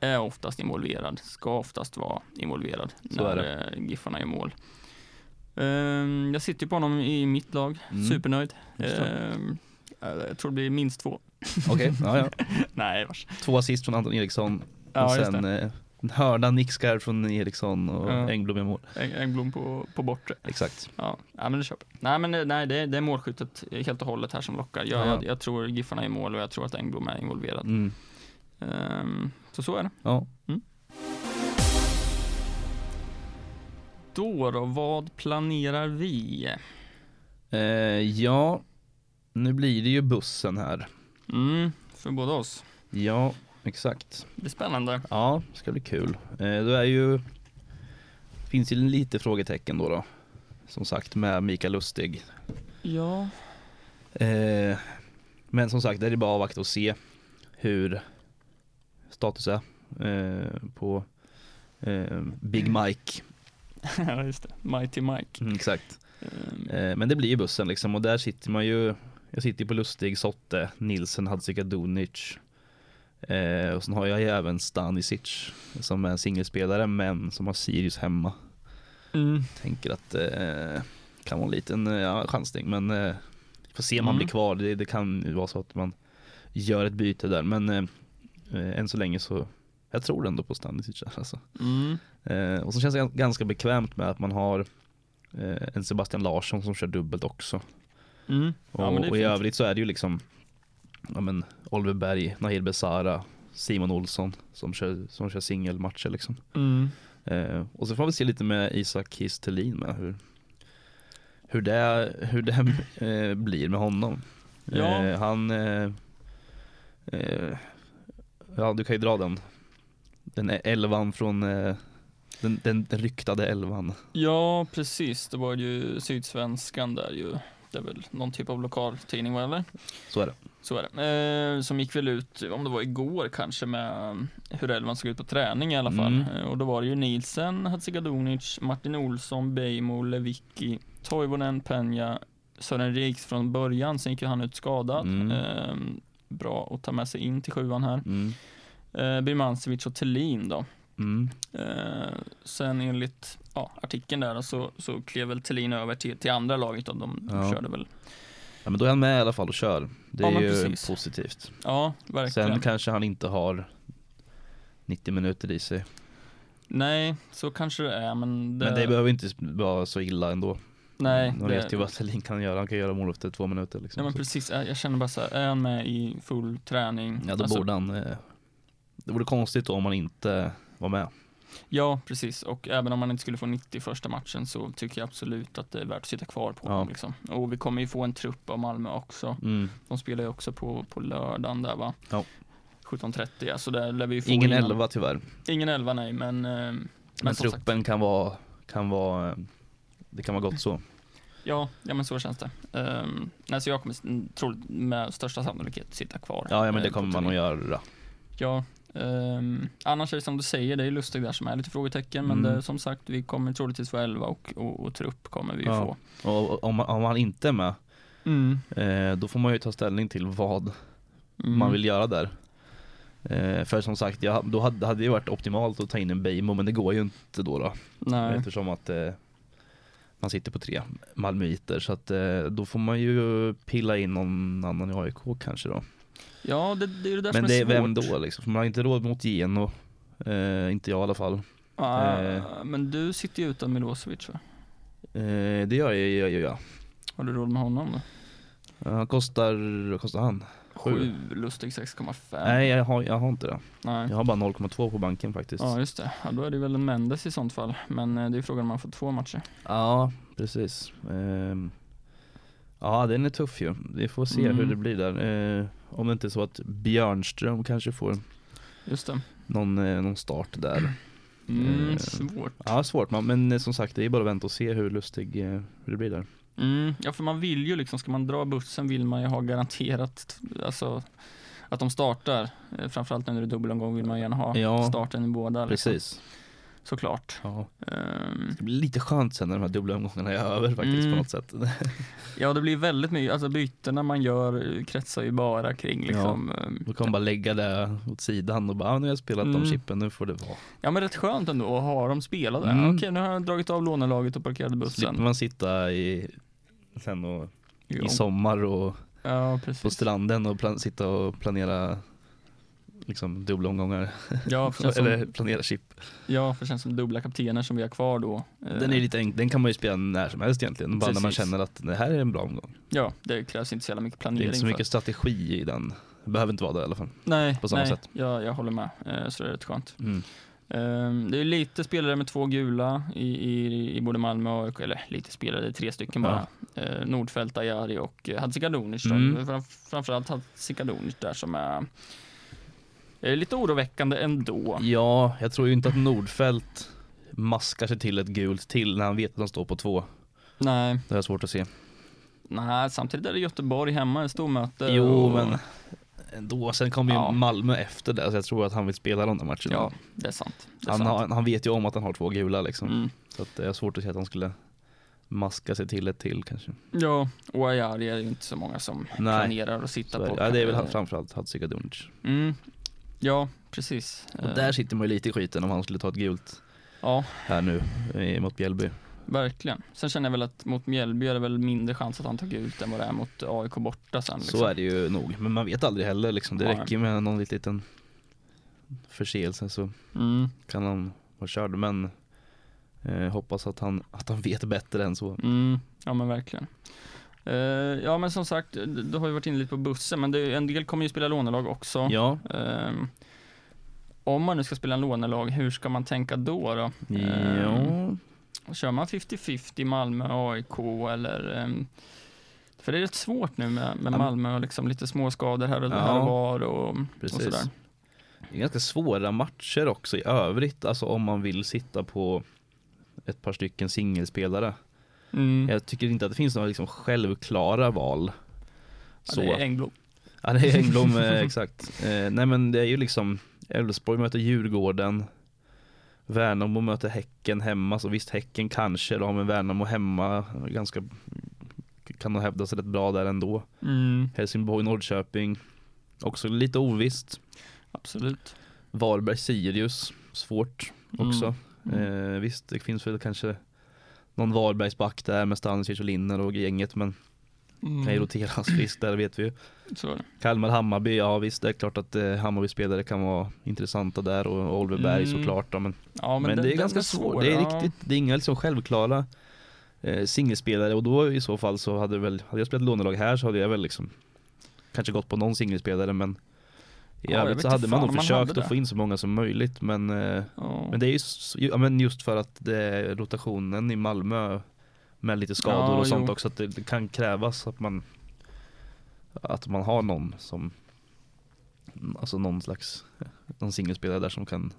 [SPEAKER 3] är oftast involverad, ska oftast vara involverad
[SPEAKER 2] Så är
[SPEAKER 3] när eh, Giffarna gör mål. Ehm, jag sitter ju på honom i mitt lag,
[SPEAKER 2] Mm.
[SPEAKER 3] supernöjd.
[SPEAKER 2] Just det.
[SPEAKER 3] Ehm, jag tror det blir minst två.
[SPEAKER 2] Okej, ja, ja.
[SPEAKER 3] Nej, vars.
[SPEAKER 2] Två assist från Anton Eriksson
[SPEAKER 3] Ja,
[SPEAKER 2] och
[SPEAKER 3] just
[SPEAKER 2] sen eh, en hörna nickskarv från Eriksson och
[SPEAKER 3] Ja.
[SPEAKER 2] Engblom i mål.
[SPEAKER 3] Eng- Engblom på, på bortre.
[SPEAKER 2] Exakt.
[SPEAKER 3] Ja, ja men det köper jag. Nej men det- nej, det, är- det är målskyttet helt och hållet här som lockar. Jag,
[SPEAKER 2] Ja.
[SPEAKER 3] jag, jag tror Giffarna är i mål och jag tror att Engblom är involverad.
[SPEAKER 2] Mm.
[SPEAKER 3] Ehm, så så är det.
[SPEAKER 2] Ja.
[SPEAKER 3] Då då, vad planerar vi?
[SPEAKER 2] Eh, ja, nu blir det ju bussen här.
[SPEAKER 3] Mm, för båda oss.
[SPEAKER 2] Ja, exakt.
[SPEAKER 3] Det blir spännande.
[SPEAKER 2] Ja, det ska bli kul. Eh, Då är ju, finns ju lite frågetecken då, då som sagt med Mikael Lustig.
[SPEAKER 3] Ja.
[SPEAKER 2] Eh, Men som sagt, det är bara att avvakta och se hur status är eh, på eh, Big Mike.
[SPEAKER 3] ja, just det. Mighty Mike.
[SPEAKER 2] Mm, Exakt.
[SPEAKER 3] Ehm,
[SPEAKER 2] Eh, Men det blir ju bussen liksom och där sitter man ju, jag sitter ju på Lustig, Sotte, Nilsen, Hadzikadunic. Eh, och sen har jag ju även Stanisic som är en singelspelare men som har Sirius hemma.
[SPEAKER 3] mm.
[SPEAKER 2] Tänker att det eh, kan vara en liten eh, ja, chansning men eh, vi får se om han
[SPEAKER 3] Mm.
[SPEAKER 2] blir kvar. Det, det kan ju vara så att man gör ett byte där men eh, eh, än så länge så jag tror ändå på Stanisic där, alltså.
[SPEAKER 3] Mm.
[SPEAKER 2] eh, Och så känns det gan- ganska bekvämt med att man har eh, en Sebastian Larsson som kör dubbelt också.
[SPEAKER 3] Mm.
[SPEAKER 2] Och,
[SPEAKER 3] Ja, men det är
[SPEAKER 2] och i
[SPEAKER 3] fint.
[SPEAKER 2] övrigt så är det ju liksom ja, men, Oliver Berg, Nahir Besara, Simon Olsson som kör, som kör singelmatcher liksom.
[SPEAKER 3] Mm.
[SPEAKER 2] Eh, och så får vi se lite med Isak Kistelin med hur, hur det, hur det eh, blir med honom.
[SPEAKER 3] Ja.
[SPEAKER 2] Eh, han, eh, eh, ja du kan ju dra den. Den är elvan från, eh, den, den ryktade elvan.
[SPEAKER 3] Ja, precis. Det var ju Sydsvenskan där ju. Det är väl någon typ av lokaltidning, va, eller?
[SPEAKER 2] Så är det.
[SPEAKER 3] Så är det. Eh, som gick väl ut, om det var igår kanske, med eh, hur elvan såg ut på träning i alla fall.
[SPEAKER 2] Mm.
[SPEAKER 3] Eh, och då var det ju Nielsen, Hadzikadunic, Martin Olsson, Beijmo, Levicki, Toivonen, Penja, Sören Riks från början, sen gick ju han ut skadad.
[SPEAKER 2] Mm.
[SPEAKER 3] Eh, bra att ta med sig in till sjuan här.
[SPEAKER 2] Mm.
[SPEAKER 3] Eh, Birmancevic och Thelin då.
[SPEAKER 2] Mm.
[SPEAKER 3] Eh, sen enligt ja, artikeln där så, så klev väl Thelin över till, till andra laget och de, de
[SPEAKER 2] Ja.
[SPEAKER 3] körde väl.
[SPEAKER 2] Ja, men då är han med i alla fall och kör. Det
[SPEAKER 3] Ja,
[SPEAKER 2] är
[SPEAKER 3] men
[SPEAKER 2] ju
[SPEAKER 3] precis.
[SPEAKER 2] positivt.
[SPEAKER 3] Ja, verkligen.
[SPEAKER 2] Sen kanske han inte har 90 minuter i sig.
[SPEAKER 3] Nej, så kanske det är men det,
[SPEAKER 2] Men det behöver inte vara så illa ändå.
[SPEAKER 3] Nej,
[SPEAKER 2] Man
[SPEAKER 3] det-
[SPEAKER 2] vet ju vad Selin kan göra. Han kan göra mål efter två minuter liksom.
[SPEAKER 3] Ja men
[SPEAKER 2] Så-
[SPEAKER 3] precis, jag jag känner bara så här, är han med i full träning?
[SPEAKER 2] Ja, då
[SPEAKER 3] Alltså,
[SPEAKER 2] borde han... eh, Det vore konstigt om han inte var med.
[SPEAKER 3] Ja, precis. Och även om man inte skulle få 90 i första matchen så tycker jag absolut att det är värt att sitta kvar på
[SPEAKER 2] Ja.
[SPEAKER 3] honom. Liksom. Och vi kommer ju få en trupp av Malmö också.
[SPEAKER 2] Mm.
[SPEAKER 3] De spelar ju också på, på lördagen där va?
[SPEAKER 2] Ja.
[SPEAKER 3] 17.30, alltså där lär vi ju få
[SPEAKER 2] Ingen
[SPEAKER 3] innan-
[SPEAKER 2] elva tyvärr. Men,
[SPEAKER 3] Ingen elva nej, men, eh, men, som sagt.
[SPEAKER 2] truppen kan vara, kan vara... eh, Det kan vara gott så.
[SPEAKER 3] Ja, ja, men så känns det. Um, nej, så jag kommer s- troligt, med största sannolikhet sitta kvar.
[SPEAKER 2] Ja, ja men det
[SPEAKER 3] eh, på
[SPEAKER 2] kommer man
[SPEAKER 3] turneringen.
[SPEAKER 2] att göra.
[SPEAKER 3] Ja, ehm, annars är det som du säger, det är lustigt där som är lite frågetecken. Men
[SPEAKER 2] Mm.
[SPEAKER 3] det, som sagt, vi kommer troligtvis få 11 och, och, och trupp kommer vi ju
[SPEAKER 2] Ja.
[SPEAKER 3] få.
[SPEAKER 2] Och om, om han inte är med,
[SPEAKER 3] Mm.
[SPEAKER 2] eh, då får man ju ta ställning till vad
[SPEAKER 3] Mm.
[SPEAKER 2] man vill göra där. Eh, För som sagt, jag, då hade det hade ju varit optimalt att ta in en Beijmo, men det går ju inte då. då
[SPEAKER 3] Nej.
[SPEAKER 2] eftersom att eh, man sitter på tre malmöiter. Så att, eh, då får man ju pilla in någon annan i AIK kanske då.
[SPEAKER 3] Ja, det, det är ju det där
[SPEAKER 2] Men
[SPEAKER 3] som
[SPEAKER 2] det
[SPEAKER 3] är
[SPEAKER 2] är
[SPEAKER 3] svårt.
[SPEAKER 2] vem då liksom? För man har inte råd mot Geno. Eh, inte jag i alla fall.
[SPEAKER 3] Ah,
[SPEAKER 2] Eh.
[SPEAKER 3] Men du sitter ju utan Milosevic va?
[SPEAKER 2] Eh, det gör jag, gör jag, jag.
[SPEAKER 3] Har du råd med honom då?
[SPEAKER 2] Han kostar, vad kostar han? Sju.
[SPEAKER 3] Sju, Lustig 6,5.
[SPEAKER 2] Nej jag har, jag har inte det.
[SPEAKER 3] Nej.
[SPEAKER 2] Jag har bara 0,2 på banken faktiskt.
[SPEAKER 3] Ja
[SPEAKER 2] Ja,
[SPEAKER 3] just det, ja, då är det väl en Mendes i sånt fall. Men eh, det är frågan om man får två matcher.
[SPEAKER 2] precis. Ehm, ja den är tuff ju. Vi får se
[SPEAKER 3] Mm.
[SPEAKER 2] hur det blir där. Eh, om det inte är så att Björnström kanske får
[SPEAKER 3] Just det.
[SPEAKER 2] någon, eh, någon start där.
[SPEAKER 3] Mm,
[SPEAKER 2] Eh.
[SPEAKER 3] Svårt.
[SPEAKER 2] Ja svårt man, men eh, som sagt det är bara att vänta och se hur lustig, eh, hur det blir där.
[SPEAKER 3] Mm, ja, för man vill ju liksom, ska man dra bussen vill man ju ha garanterat alltså, att de startar. Eh, Framförallt när det är dubbelomgång vill man gärna ha
[SPEAKER 2] Ja.
[SPEAKER 3] starten i båda. Liksom,
[SPEAKER 2] Precis.
[SPEAKER 3] såklart.
[SPEAKER 2] Ja.
[SPEAKER 3] Ehm,
[SPEAKER 2] Det blir lite skönt sen när de här dubbla omgångarna är över faktiskt
[SPEAKER 3] Mm.
[SPEAKER 2] på något sätt.
[SPEAKER 3] ja, det blir väldigt mycket, alltså bytena man gör eh, kretsar ju bara kring liksom. ehm,
[SPEAKER 2] Då kan man bara lägga det åt sidan och bara, ah, nu har jag spelat
[SPEAKER 3] Mm.
[SPEAKER 2] de chippen, nu får det vara.
[SPEAKER 3] Ja, men rätt skönt ändå att ha dem spelade.
[SPEAKER 2] Mm.
[SPEAKER 3] Okej, nu har jag dragit av lånelaget och parkerat
[SPEAKER 2] Slipper
[SPEAKER 3] bussen.
[SPEAKER 2] man sitta i, sen och,
[SPEAKER 3] Jo.
[SPEAKER 2] i sommar och
[SPEAKER 3] Ja,
[SPEAKER 2] på
[SPEAKER 3] precis.
[SPEAKER 2] stranden och plan, sitta och planera liksom dubbla omgångar.
[SPEAKER 3] Ja, för det känns
[SPEAKER 2] Eller
[SPEAKER 3] som,
[SPEAKER 2] planera chip.
[SPEAKER 3] ja, för det känns som dubbla kaptener som vi har kvar då. Eh,
[SPEAKER 2] Den, är lite enk- den kan man ju spela när som helst egentligen, bara när man
[SPEAKER 3] Precis.
[SPEAKER 2] känner att det här är en bra omgång.
[SPEAKER 3] Ja, Ehm, det krävs inte så jävla mycket
[SPEAKER 2] Det
[SPEAKER 3] planering.
[SPEAKER 2] är inte så
[SPEAKER 3] för.
[SPEAKER 2] mycket strategi i den Behöver inte vara det i alla fall.
[SPEAKER 3] Nej,
[SPEAKER 2] På samma
[SPEAKER 3] nej,
[SPEAKER 2] sätt.
[SPEAKER 3] Jag, jag håller med. Eh, Så det är rätt skönt.
[SPEAKER 2] Mm.
[SPEAKER 3] Ehm, Det är lite spelare med två gula i, i, i både Malmö och AIK, eller lite spelare, det är tre stycken bara. Ja. Nordfeldt, Ajari och eh, Hadzikadunic. då.
[SPEAKER 2] Mm.
[SPEAKER 3] Fram, framförallt Hadzikadunic där som är eh, lite oroväckande ändå.
[SPEAKER 2] Ja, jag tror ju inte att Nordfeldt maskar sig till ett gult till när han vet att han står på två.
[SPEAKER 3] Nej,
[SPEAKER 2] Det är svårt att se.
[SPEAKER 3] nej samtidigt är det Göteborg hemma, ett stort möte.
[SPEAKER 2] Jo,
[SPEAKER 3] och-
[SPEAKER 2] men ändå. Sen kommer ju
[SPEAKER 3] Ja.
[SPEAKER 2] Malmö efter det, så jag tror att han vill spela de där matcherna.
[SPEAKER 3] Ja, det är sant. Det är
[SPEAKER 2] han,
[SPEAKER 3] sant.
[SPEAKER 2] har, han vet ju om att han har två gula liksom.
[SPEAKER 3] Mm.
[SPEAKER 2] Så att det är svårt att se att han skulle maska sig till ett till kanske.
[SPEAKER 3] Ja, och Ajari är ju inte så många som
[SPEAKER 2] Nej,
[SPEAKER 3] planerar att sitta
[SPEAKER 2] så är
[SPEAKER 3] på.
[SPEAKER 2] det. Ja, det är väl han,
[SPEAKER 3] han
[SPEAKER 2] framförallt Hadzikadunic.
[SPEAKER 3] mm. Ja, precis.
[SPEAKER 2] Och
[SPEAKER 3] Eh,
[SPEAKER 2] där sitter man ju lite i skiten om han skulle ta ett gult
[SPEAKER 3] Ja,
[SPEAKER 2] här nu eh, mot Bjällby.
[SPEAKER 3] Verkligen. Sen känner jag väl att mot Mjällby är det väl mindre chans att han tar ut än vad det är mot AIK borta sen. Liksom.
[SPEAKER 2] Så är det ju nog, men man vet aldrig heller liksom. Det
[SPEAKER 3] Nej.
[SPEAKER 2] räcker med någon liten- liten förseelse så
[SPEAKER 3] Mm,
[SPEAKER 2] kan han vara körd. Men eh, hoppas att han, att han vet bättre än så.
[SPEAKER 3] mm, ja men verkligen. Eh, ja men som sagt, du du har ju varit inne lite på bussen, men det, är- en del kommer ju spela lånelag också.
[SPEAKER 2] Ja,
[SPEAKER 3] Ehm, om man nu ska spela lånelag, hur ska man tänka då? då? Eh,
[SPEAKER 2] ja.
[SPEAKER 3] Kör man 50-50 Malmö-AIK eller? ehm, för det är rätt svårt nu med, med
[SPEAKER 2] Ja.
[SPEAKER 3] Malmö och liksom lite småskador här och,
[SPEAKER 2] Ja.
[SPEAKER 3] här och var och, och
[SPEAKER 2] Precis.
[SPEAKER 3] sådär.
[SPEAKER 2] Det är ganska svåra matcher också i övrigt. Alltså om man vill sitta på ett par stycken singelspelare.
[SPEAKER 3] Mm.
[SPEAKER 2] Jag tycker inte att det finns några liksom självklara val.
[SPEAKER 3] Ja, det är Engblom.
[SPEAKER 2] Ja det är Engblom, eh, exakt. Eh, nej men det är ju liksom Elfsborg möter Djurgården Värnamo möter Häcken hemma, så visst Häcken kanske då, men Värnamo hemma eh, ganska kan nog hävda sig rätt bra där ändå.
[SPEAKER 3] Mm,
[SPEAKER 2] Helsingborg, Norrköping också lite ovisst.
[SPEAKER 3] absolut.
[SPEAKER 2] Varberg, Sirius, svårt också.
[SPEAKER 3] Mm.
[SPEAKER 2] Eh, visst, det finns väl kanske någon Varbergsback där med Stanisic och Linner och gänget, men kan ju roteras friskt där, vet vi ju.
[SPEAKER 3] Mm, Så är det.
[SPEAKER 2] Kalmar Hammarby, ja visst det är klart att eh, Hammarby spelare kan vara intressanta där och Oliver Berg
[SPEAKER 3] Mm.
[SPEAKER 2] såklart. Ja, men
[SPEAKER 3] Ja,
[SPEAKER 2] men,
[SPEAKER 3] den-
[SPEAKER 2] det är
[SPEAKER 3] den
[SPEAKER 2] ganska svårt. Det är
[SPEAKER 3] ja.
[SPEAKER 2] riktigt, det är inga liksom självklara eh, singelspelare och då i så fall så hade väl, hade jag spelat lånelag här så hade jag väl liksom kanske gått på någon singelspelare men i
[SPEAKER 3] Ja, jag
[SPEAKER 2] övrigt
[SPEAKER 3] vet
[SPEAKER 2] så
[SPEAKER 3] inte
[SPEAKER 2] hade man
[SPEAKER 3] fan
[SPEAKER 2] nog
[SPEAKER 3] om man hade
[SPEAKER 2] försökt
[SPEAKER 3] det.
[SPEAKER 2] att få in så många som möjligt men, eh,
[SPEAKER 3] Ja.
[SPEAKER 2] men det är ju s- ja, men just för att det, rotationen i Malmö med lite skador
[SPEAKER 3] Ja,
[SPEAKER 2] och sånt
[SPEAKER 3] jo.
[SPEAKER 2] också att det, det kan krävas att man att man har någon som alltså någon slags någon singelspelare där som kan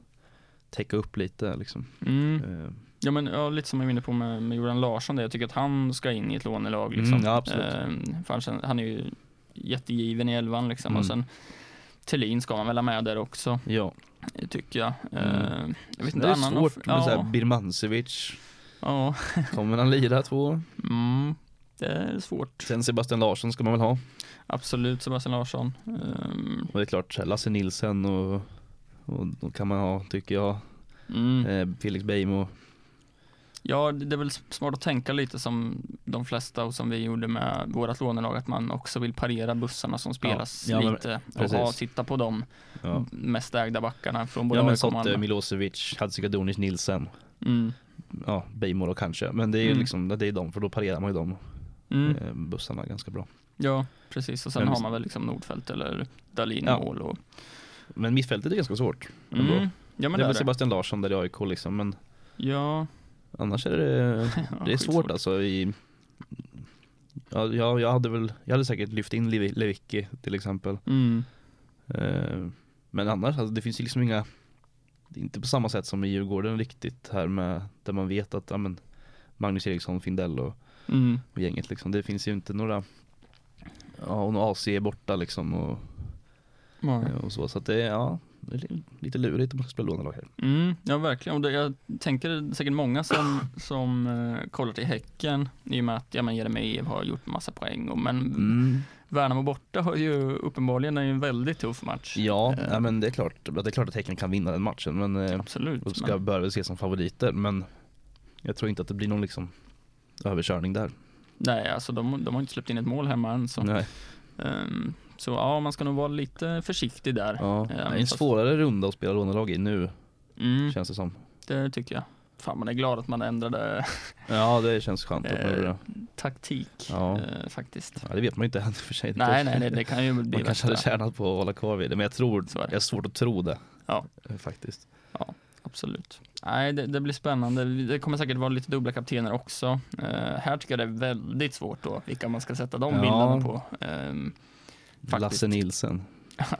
[SPEAKER 2] täcka upp lite liksom.
[SPEAKER 3] Mm.
[SPEAKER 2] Eh,
[SPEAKER 3] Ja, men ja, lite som jag var inne på med, med Joran Larsson där. Jag tycker att han ska in i ett lånelag liksom.
[SPEAKER 2] Mm, ja, absolut.
[SPEAKER 3] Ehm, för han, kän- han är ju jättegiven i elvan liksom.
[SPEAKER 2] Mm.
[SPEAKER 3] Och sen Thelin ska man väl ha med där också,
[SPEAKER 2] Ja,
[SPEAKER 3] tycker jag.
[SPEAKER 2] Mm.
[SPEAKER 3] Ehm, jag vet
[SPEAKER 2] det
[SPEAKER 3] inte
[SPEAKER 2] är
[SPEAKER 3] annan
[SPEAKER 2] svårt med
[SPEAKER 3] ja,
[SPEAKER 2] så här Birmancevic,
[SPEAKER 3] ja.
[SPEAKER 2] kommer han lira två?
[SPEAKER 3] Mm. Det är svårt.
[SPEAKER 2] Sen Sebastian Larsson ska man väl ha,
[SPEAKER 3] Absolut Sebastian Larsson. Ehm,
[SPEAKER 2] och det är klart så här Lasse Nilsen och, och då kan man ha tycker jag,
[SPEAKER 3] mm.
[SPEAKER 2] eh, Felix Beijmo.
[SPEAKER 3] Ja, det det är väl smart att tänka lite som de flesta och som vi gjorde med vårt lånelag, att man också vill parera bussarna som spelas
[SPEAKER 2] ja, men-
[SPEAKER 3] lite och
[SPEAKER 2] precis.
[SPEAKER 3] ha, titta på de Mm.
[SPEAKER 2] Ja.
[SPEAKER 3] mest ägda backarna från både
[SPEAKER 2] Ja men
[SPEAKER 3] AIK och
[SPEAKER 2] sånt, eh,
[SPEAKER 3] Malmö.
[SPEAKER 2] Milosevic, Hadzikadunic, Nilsen,
[SPEAKER 3] Mm.
[SPEAKER 2] ja Beijmo då kanske. Men det är ju
[SPEAKER 3] Mm.
[SPEAKER 2] liksom, det är de, för då parerar man ju de
[SPEAKER 3] Mm.
[SPEAKER 2] eh, bussarna ganska bra.
[SPEAKER 3] Ja, precis. Och sen
[SPEAKER 2] Men
[SPEAKER 3] har
[SPEAKER 2] visst-
[SPEAKER 3] man väl liksom Nordfeldt eller Dahlin i
[SPEAKER 2] Ja.
[SPEAKER 3] mål och...
[SPEAKER 2] Men mittfältet är ganska svårt. ändå.
[SPEAKER 3] Mm. Ja, men
[SPEAKER 2] det är väl
[SPEAKER 3] det.
[SPEAKER 2] Sebastian Larsson där i AIK liksom, men
[SPEAKER 3] Ja.
[SPEAKER 2] annars är det
[SPEAKER 3] ja,
[SPEAKER 2] Det är
[SPEAKER 3] skitsvårt.
[SPEAKER 2] svårt alltså i Ja, jag, jag hade väl, jag hade säkert lyft in Levi- Lewicki till exempel
[SPEAKER 3] Mm.
[SPEAKER 2] eh, Men annars, alltså, det finns ju liksom inga Det är inte på samma sätt som i Djurgården riktigt här med Där man vet att, ja men Magnus Eriksson, Findell och,
[SPEAKER 3] Mm.
[SPEAKER 2] och gänget liksom Det finns ju inte några Ja, och någon AC är borta liksom och,
[SPEAKER 3] Ja.
[SPEAKER 2] och så Så att det är, ja det är lite lurigt om man ska spela lånelag här
[SPEAKER 3] Mm, ja verkligen, och det, jag tänker det är säkert många som, som eh, kollar till Häcken i och med att ja, men Jeremejeff har gjort massa poäng, och, men
[SPEAKER 2] Mm.
[SPEAKER 3] Värnamo borta har ju uppenbarligen en väldigt tuff match.
[SPEAKER 2] Ja,
[SPEAKER 3] Eh.
[SPEAKER 2] ja, men det är klart Det är klart att Häcken kan vinna den matchen men eh,
[SPEAKER 3] Absolut.
[SPEAKER 2] Och ska
[SPEAKER 3] men,
[SPEAKER 2] bör väl ses som favoriter men jag tror inte att det blir någon liksom överkörning där.
[SPEAKER 3] nej, alltså de, de har inte släppt in ett mål hemma än. Så,
[SPEAKER 2] Nej.
[SPEAKER 3] Ehm, så ja, man ska nog vara lite försiktig där. Eh,
[SPEAKER 2] Ja. Det är en
[SPEAKER 3] fast-
[SPEAKER 2] svårare runda att spela lånelag i nu
[SPEAKER 3] Mm,
[SPEAKER 2] känns det som.
[SPEAKER 3] det tycker jag. Fan, man är glad att man ändrade
[SPEAKER 2] Ja det känns skönt att man
[SPEAKER 3] Eh,
[SPEAKER 2] gör det.
[SPEAKER 3] taktik
[SPEAKER 2] Ja.
[SPEAKER 3] eh, faktiskt.
[SPEAKER 2] Ja, det vet man ju inte än i och för sig. Det
[SPEAKER 3] Nej,
[SPEAKER 2] kanske-
[SPEAKER 3] nej, nej, det kan ju bli
[SPEAKER 2] Man kanske
[SPEAKER 3] värsta.
[SPEAKER 2] hade tjänat på att hålla kvar vid det, men jag tror,
[SPEAKER 3] Så är
[SPEAKER 2] jag
[SPEAKER 3] det.
[SPEAKER 2] har svårt att tro det.
[SPEAKER 3] Ja.
[SPEAKER 2] eh, Faktiskt.
[SPEAKER 3] Absolut. Nej, det, det blir spännande. Det kommer säkert vara lite dubbla kaptener också. Eh, här tycker jag det är väldigt svårt då, vilka man ska sätta de
[SPEAKER 2] Ja.
[SPEAKER 3] bilderna på. Ehm, Faktiskt.
[SPEAKER 2] Lasse Nilsen.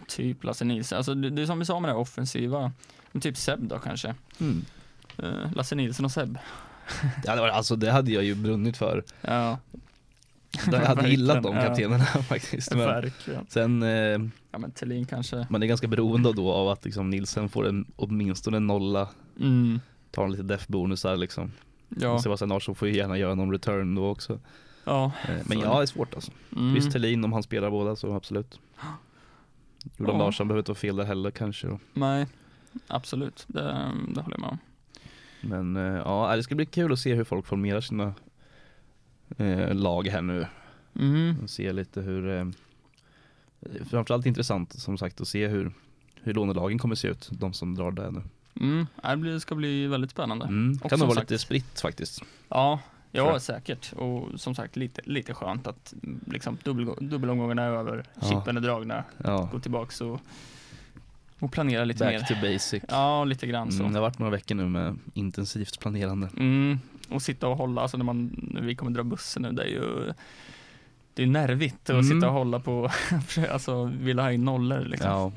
[SPEAKER 3] typ Lasse Nilsson. Alltså, det, det är som vi sa med det här offensiva. Men Typ Seb då kanske.
[SPEAKER 2] Mm.
[SPEAKER 3] Eh, Lasse Nilsson och Seb.
[SPEAKER 2] Det hade varit, alltså det hade jag ju brunnit för.
[SPEAKER 3] Ja,
[SPEAKER 2] Jag hade gillat de
[SPEAKER 3] Verkligen, ja.
[SPEAKER 2] kaptenerna faktiskt. Men
[SPEAKER 3] verkligen.
[SPEAKER 2] sen, eh,
[SPEAKER 3] Ja, men Thelin kanske.
[SPEAKER 2] man är ganska beroende då av att liksom Nilsen får en, åtminstone en nolla,
[SPEAKER 3] Mm.
[SPEAKER 2] tar en lite deff-bonusar liksom.
[SPEAKER 3] Ja,
[SPEAKER 2] Sebastian Larsson får ju gärna göra någon return då också.
[SPEAKER 3] ja.
[SPEAKER 2] Eh, Men
[SPEAKER 3] Så-
[SPEAKER 2] ja, det är svårt alltså.
[SPEAKER 3] Mm.
[SPEAKER 2] Visst Thelin om han spelar båda så absolut. Jordan
[SPEAKER 3] Ja.
[SPEAKER 2] Larsson behöver inte vara fel där heller kanske. då.
[SPEAKER 3] Nej, absolut. Det, det håller jag med om.
[SPEAKER 2] Men eh, ja, det ska bli kul att se hur folk formerar sina eh, lag här nu.
[SPEAKER 3] Mm.
[SPEAKER 2] Och se lite hur eh, Framförallt intressant som sagt att se hur, hur lånelagen kommer se ut, de som drar där nu.
[SPEAKER 3] Mm. Ja, Det blir- ska bli väldigt spännande.
[SPEAKER 2] Mm.
[SPEAKER 3] Och
[SPEAKER 2] Kan nog
[SPEAKER 3] som
[SPEAKER 2] vara
[SPEAKER 3] sagt-
[SPEAKER 2] lite spritt faktiskt.
[SPEAKER 3] Ja,
[SPEAKER 2] Tror
[SPEAKER 3] ja
[SPEAKER 2] jag.
[SPEAKER 3] säkert. Och som sagt lite, lite skönt att mm, liksom, dubbel, dubbelomgångarna är över,
[SPEAKER 2] Ja.
[SPEAKER 3] chippen är dragna,
[SPEAKER 2] Ja.
[SPEAKER 3] gå tillbaks och, och planera lite
[SPEAKER 2] Back
[SPEAKER 3] mer.
[SPEAKER 2] to basic.
[SPEAKER 3] Ja, lite grann
[SPEAKER 2] Mm, det
[SPEAKER 3] så.
[SPEAKER 2] har varit några veckor nu med intensivt planerande.
[SPEAKER 3] Mm. Och sitta och hålla, alltså när man, när vi kommer dra bussen nu, det är ju det är nervigt att
[SPEAKER 2] Mm.
[SPEAKER 3] sitta och hålla på, alltså vilja ha in nollor liksom.
[SPEAKER 2] Ja.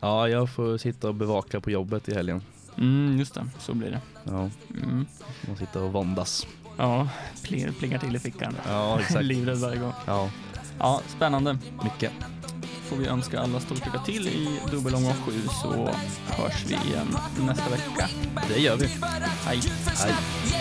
[SPEAKER 2] ja, jag får sitta och bevaka på jobbet i helgen.
[SPEAKER 3] Mm, just det, så blir det.
[SPEAKER 2] Ja,
[SPEAKER 3] Mm.
[SPEAKER 2] och sitta och våndas.
[SPEAKER 3] Ja, pling, plingar till i fickan.
[SPEAKER 2] Ja, exakt.
[SPEAKER 3] Livrädd varje gång.
[SPEAKER 2] Ja,
[SPEAKER 3] Ja, spännande.
[SPEAKER 2] mycket.
[SPEAKER 3] får vi önska alla stort lycka till i dubbelomgång 7 så hörs vi igen nästa vecka.
[SPEAKER 2] Det gör vi.
[SPEAKER 3] Hej!
[SPEAKER 2] Hej.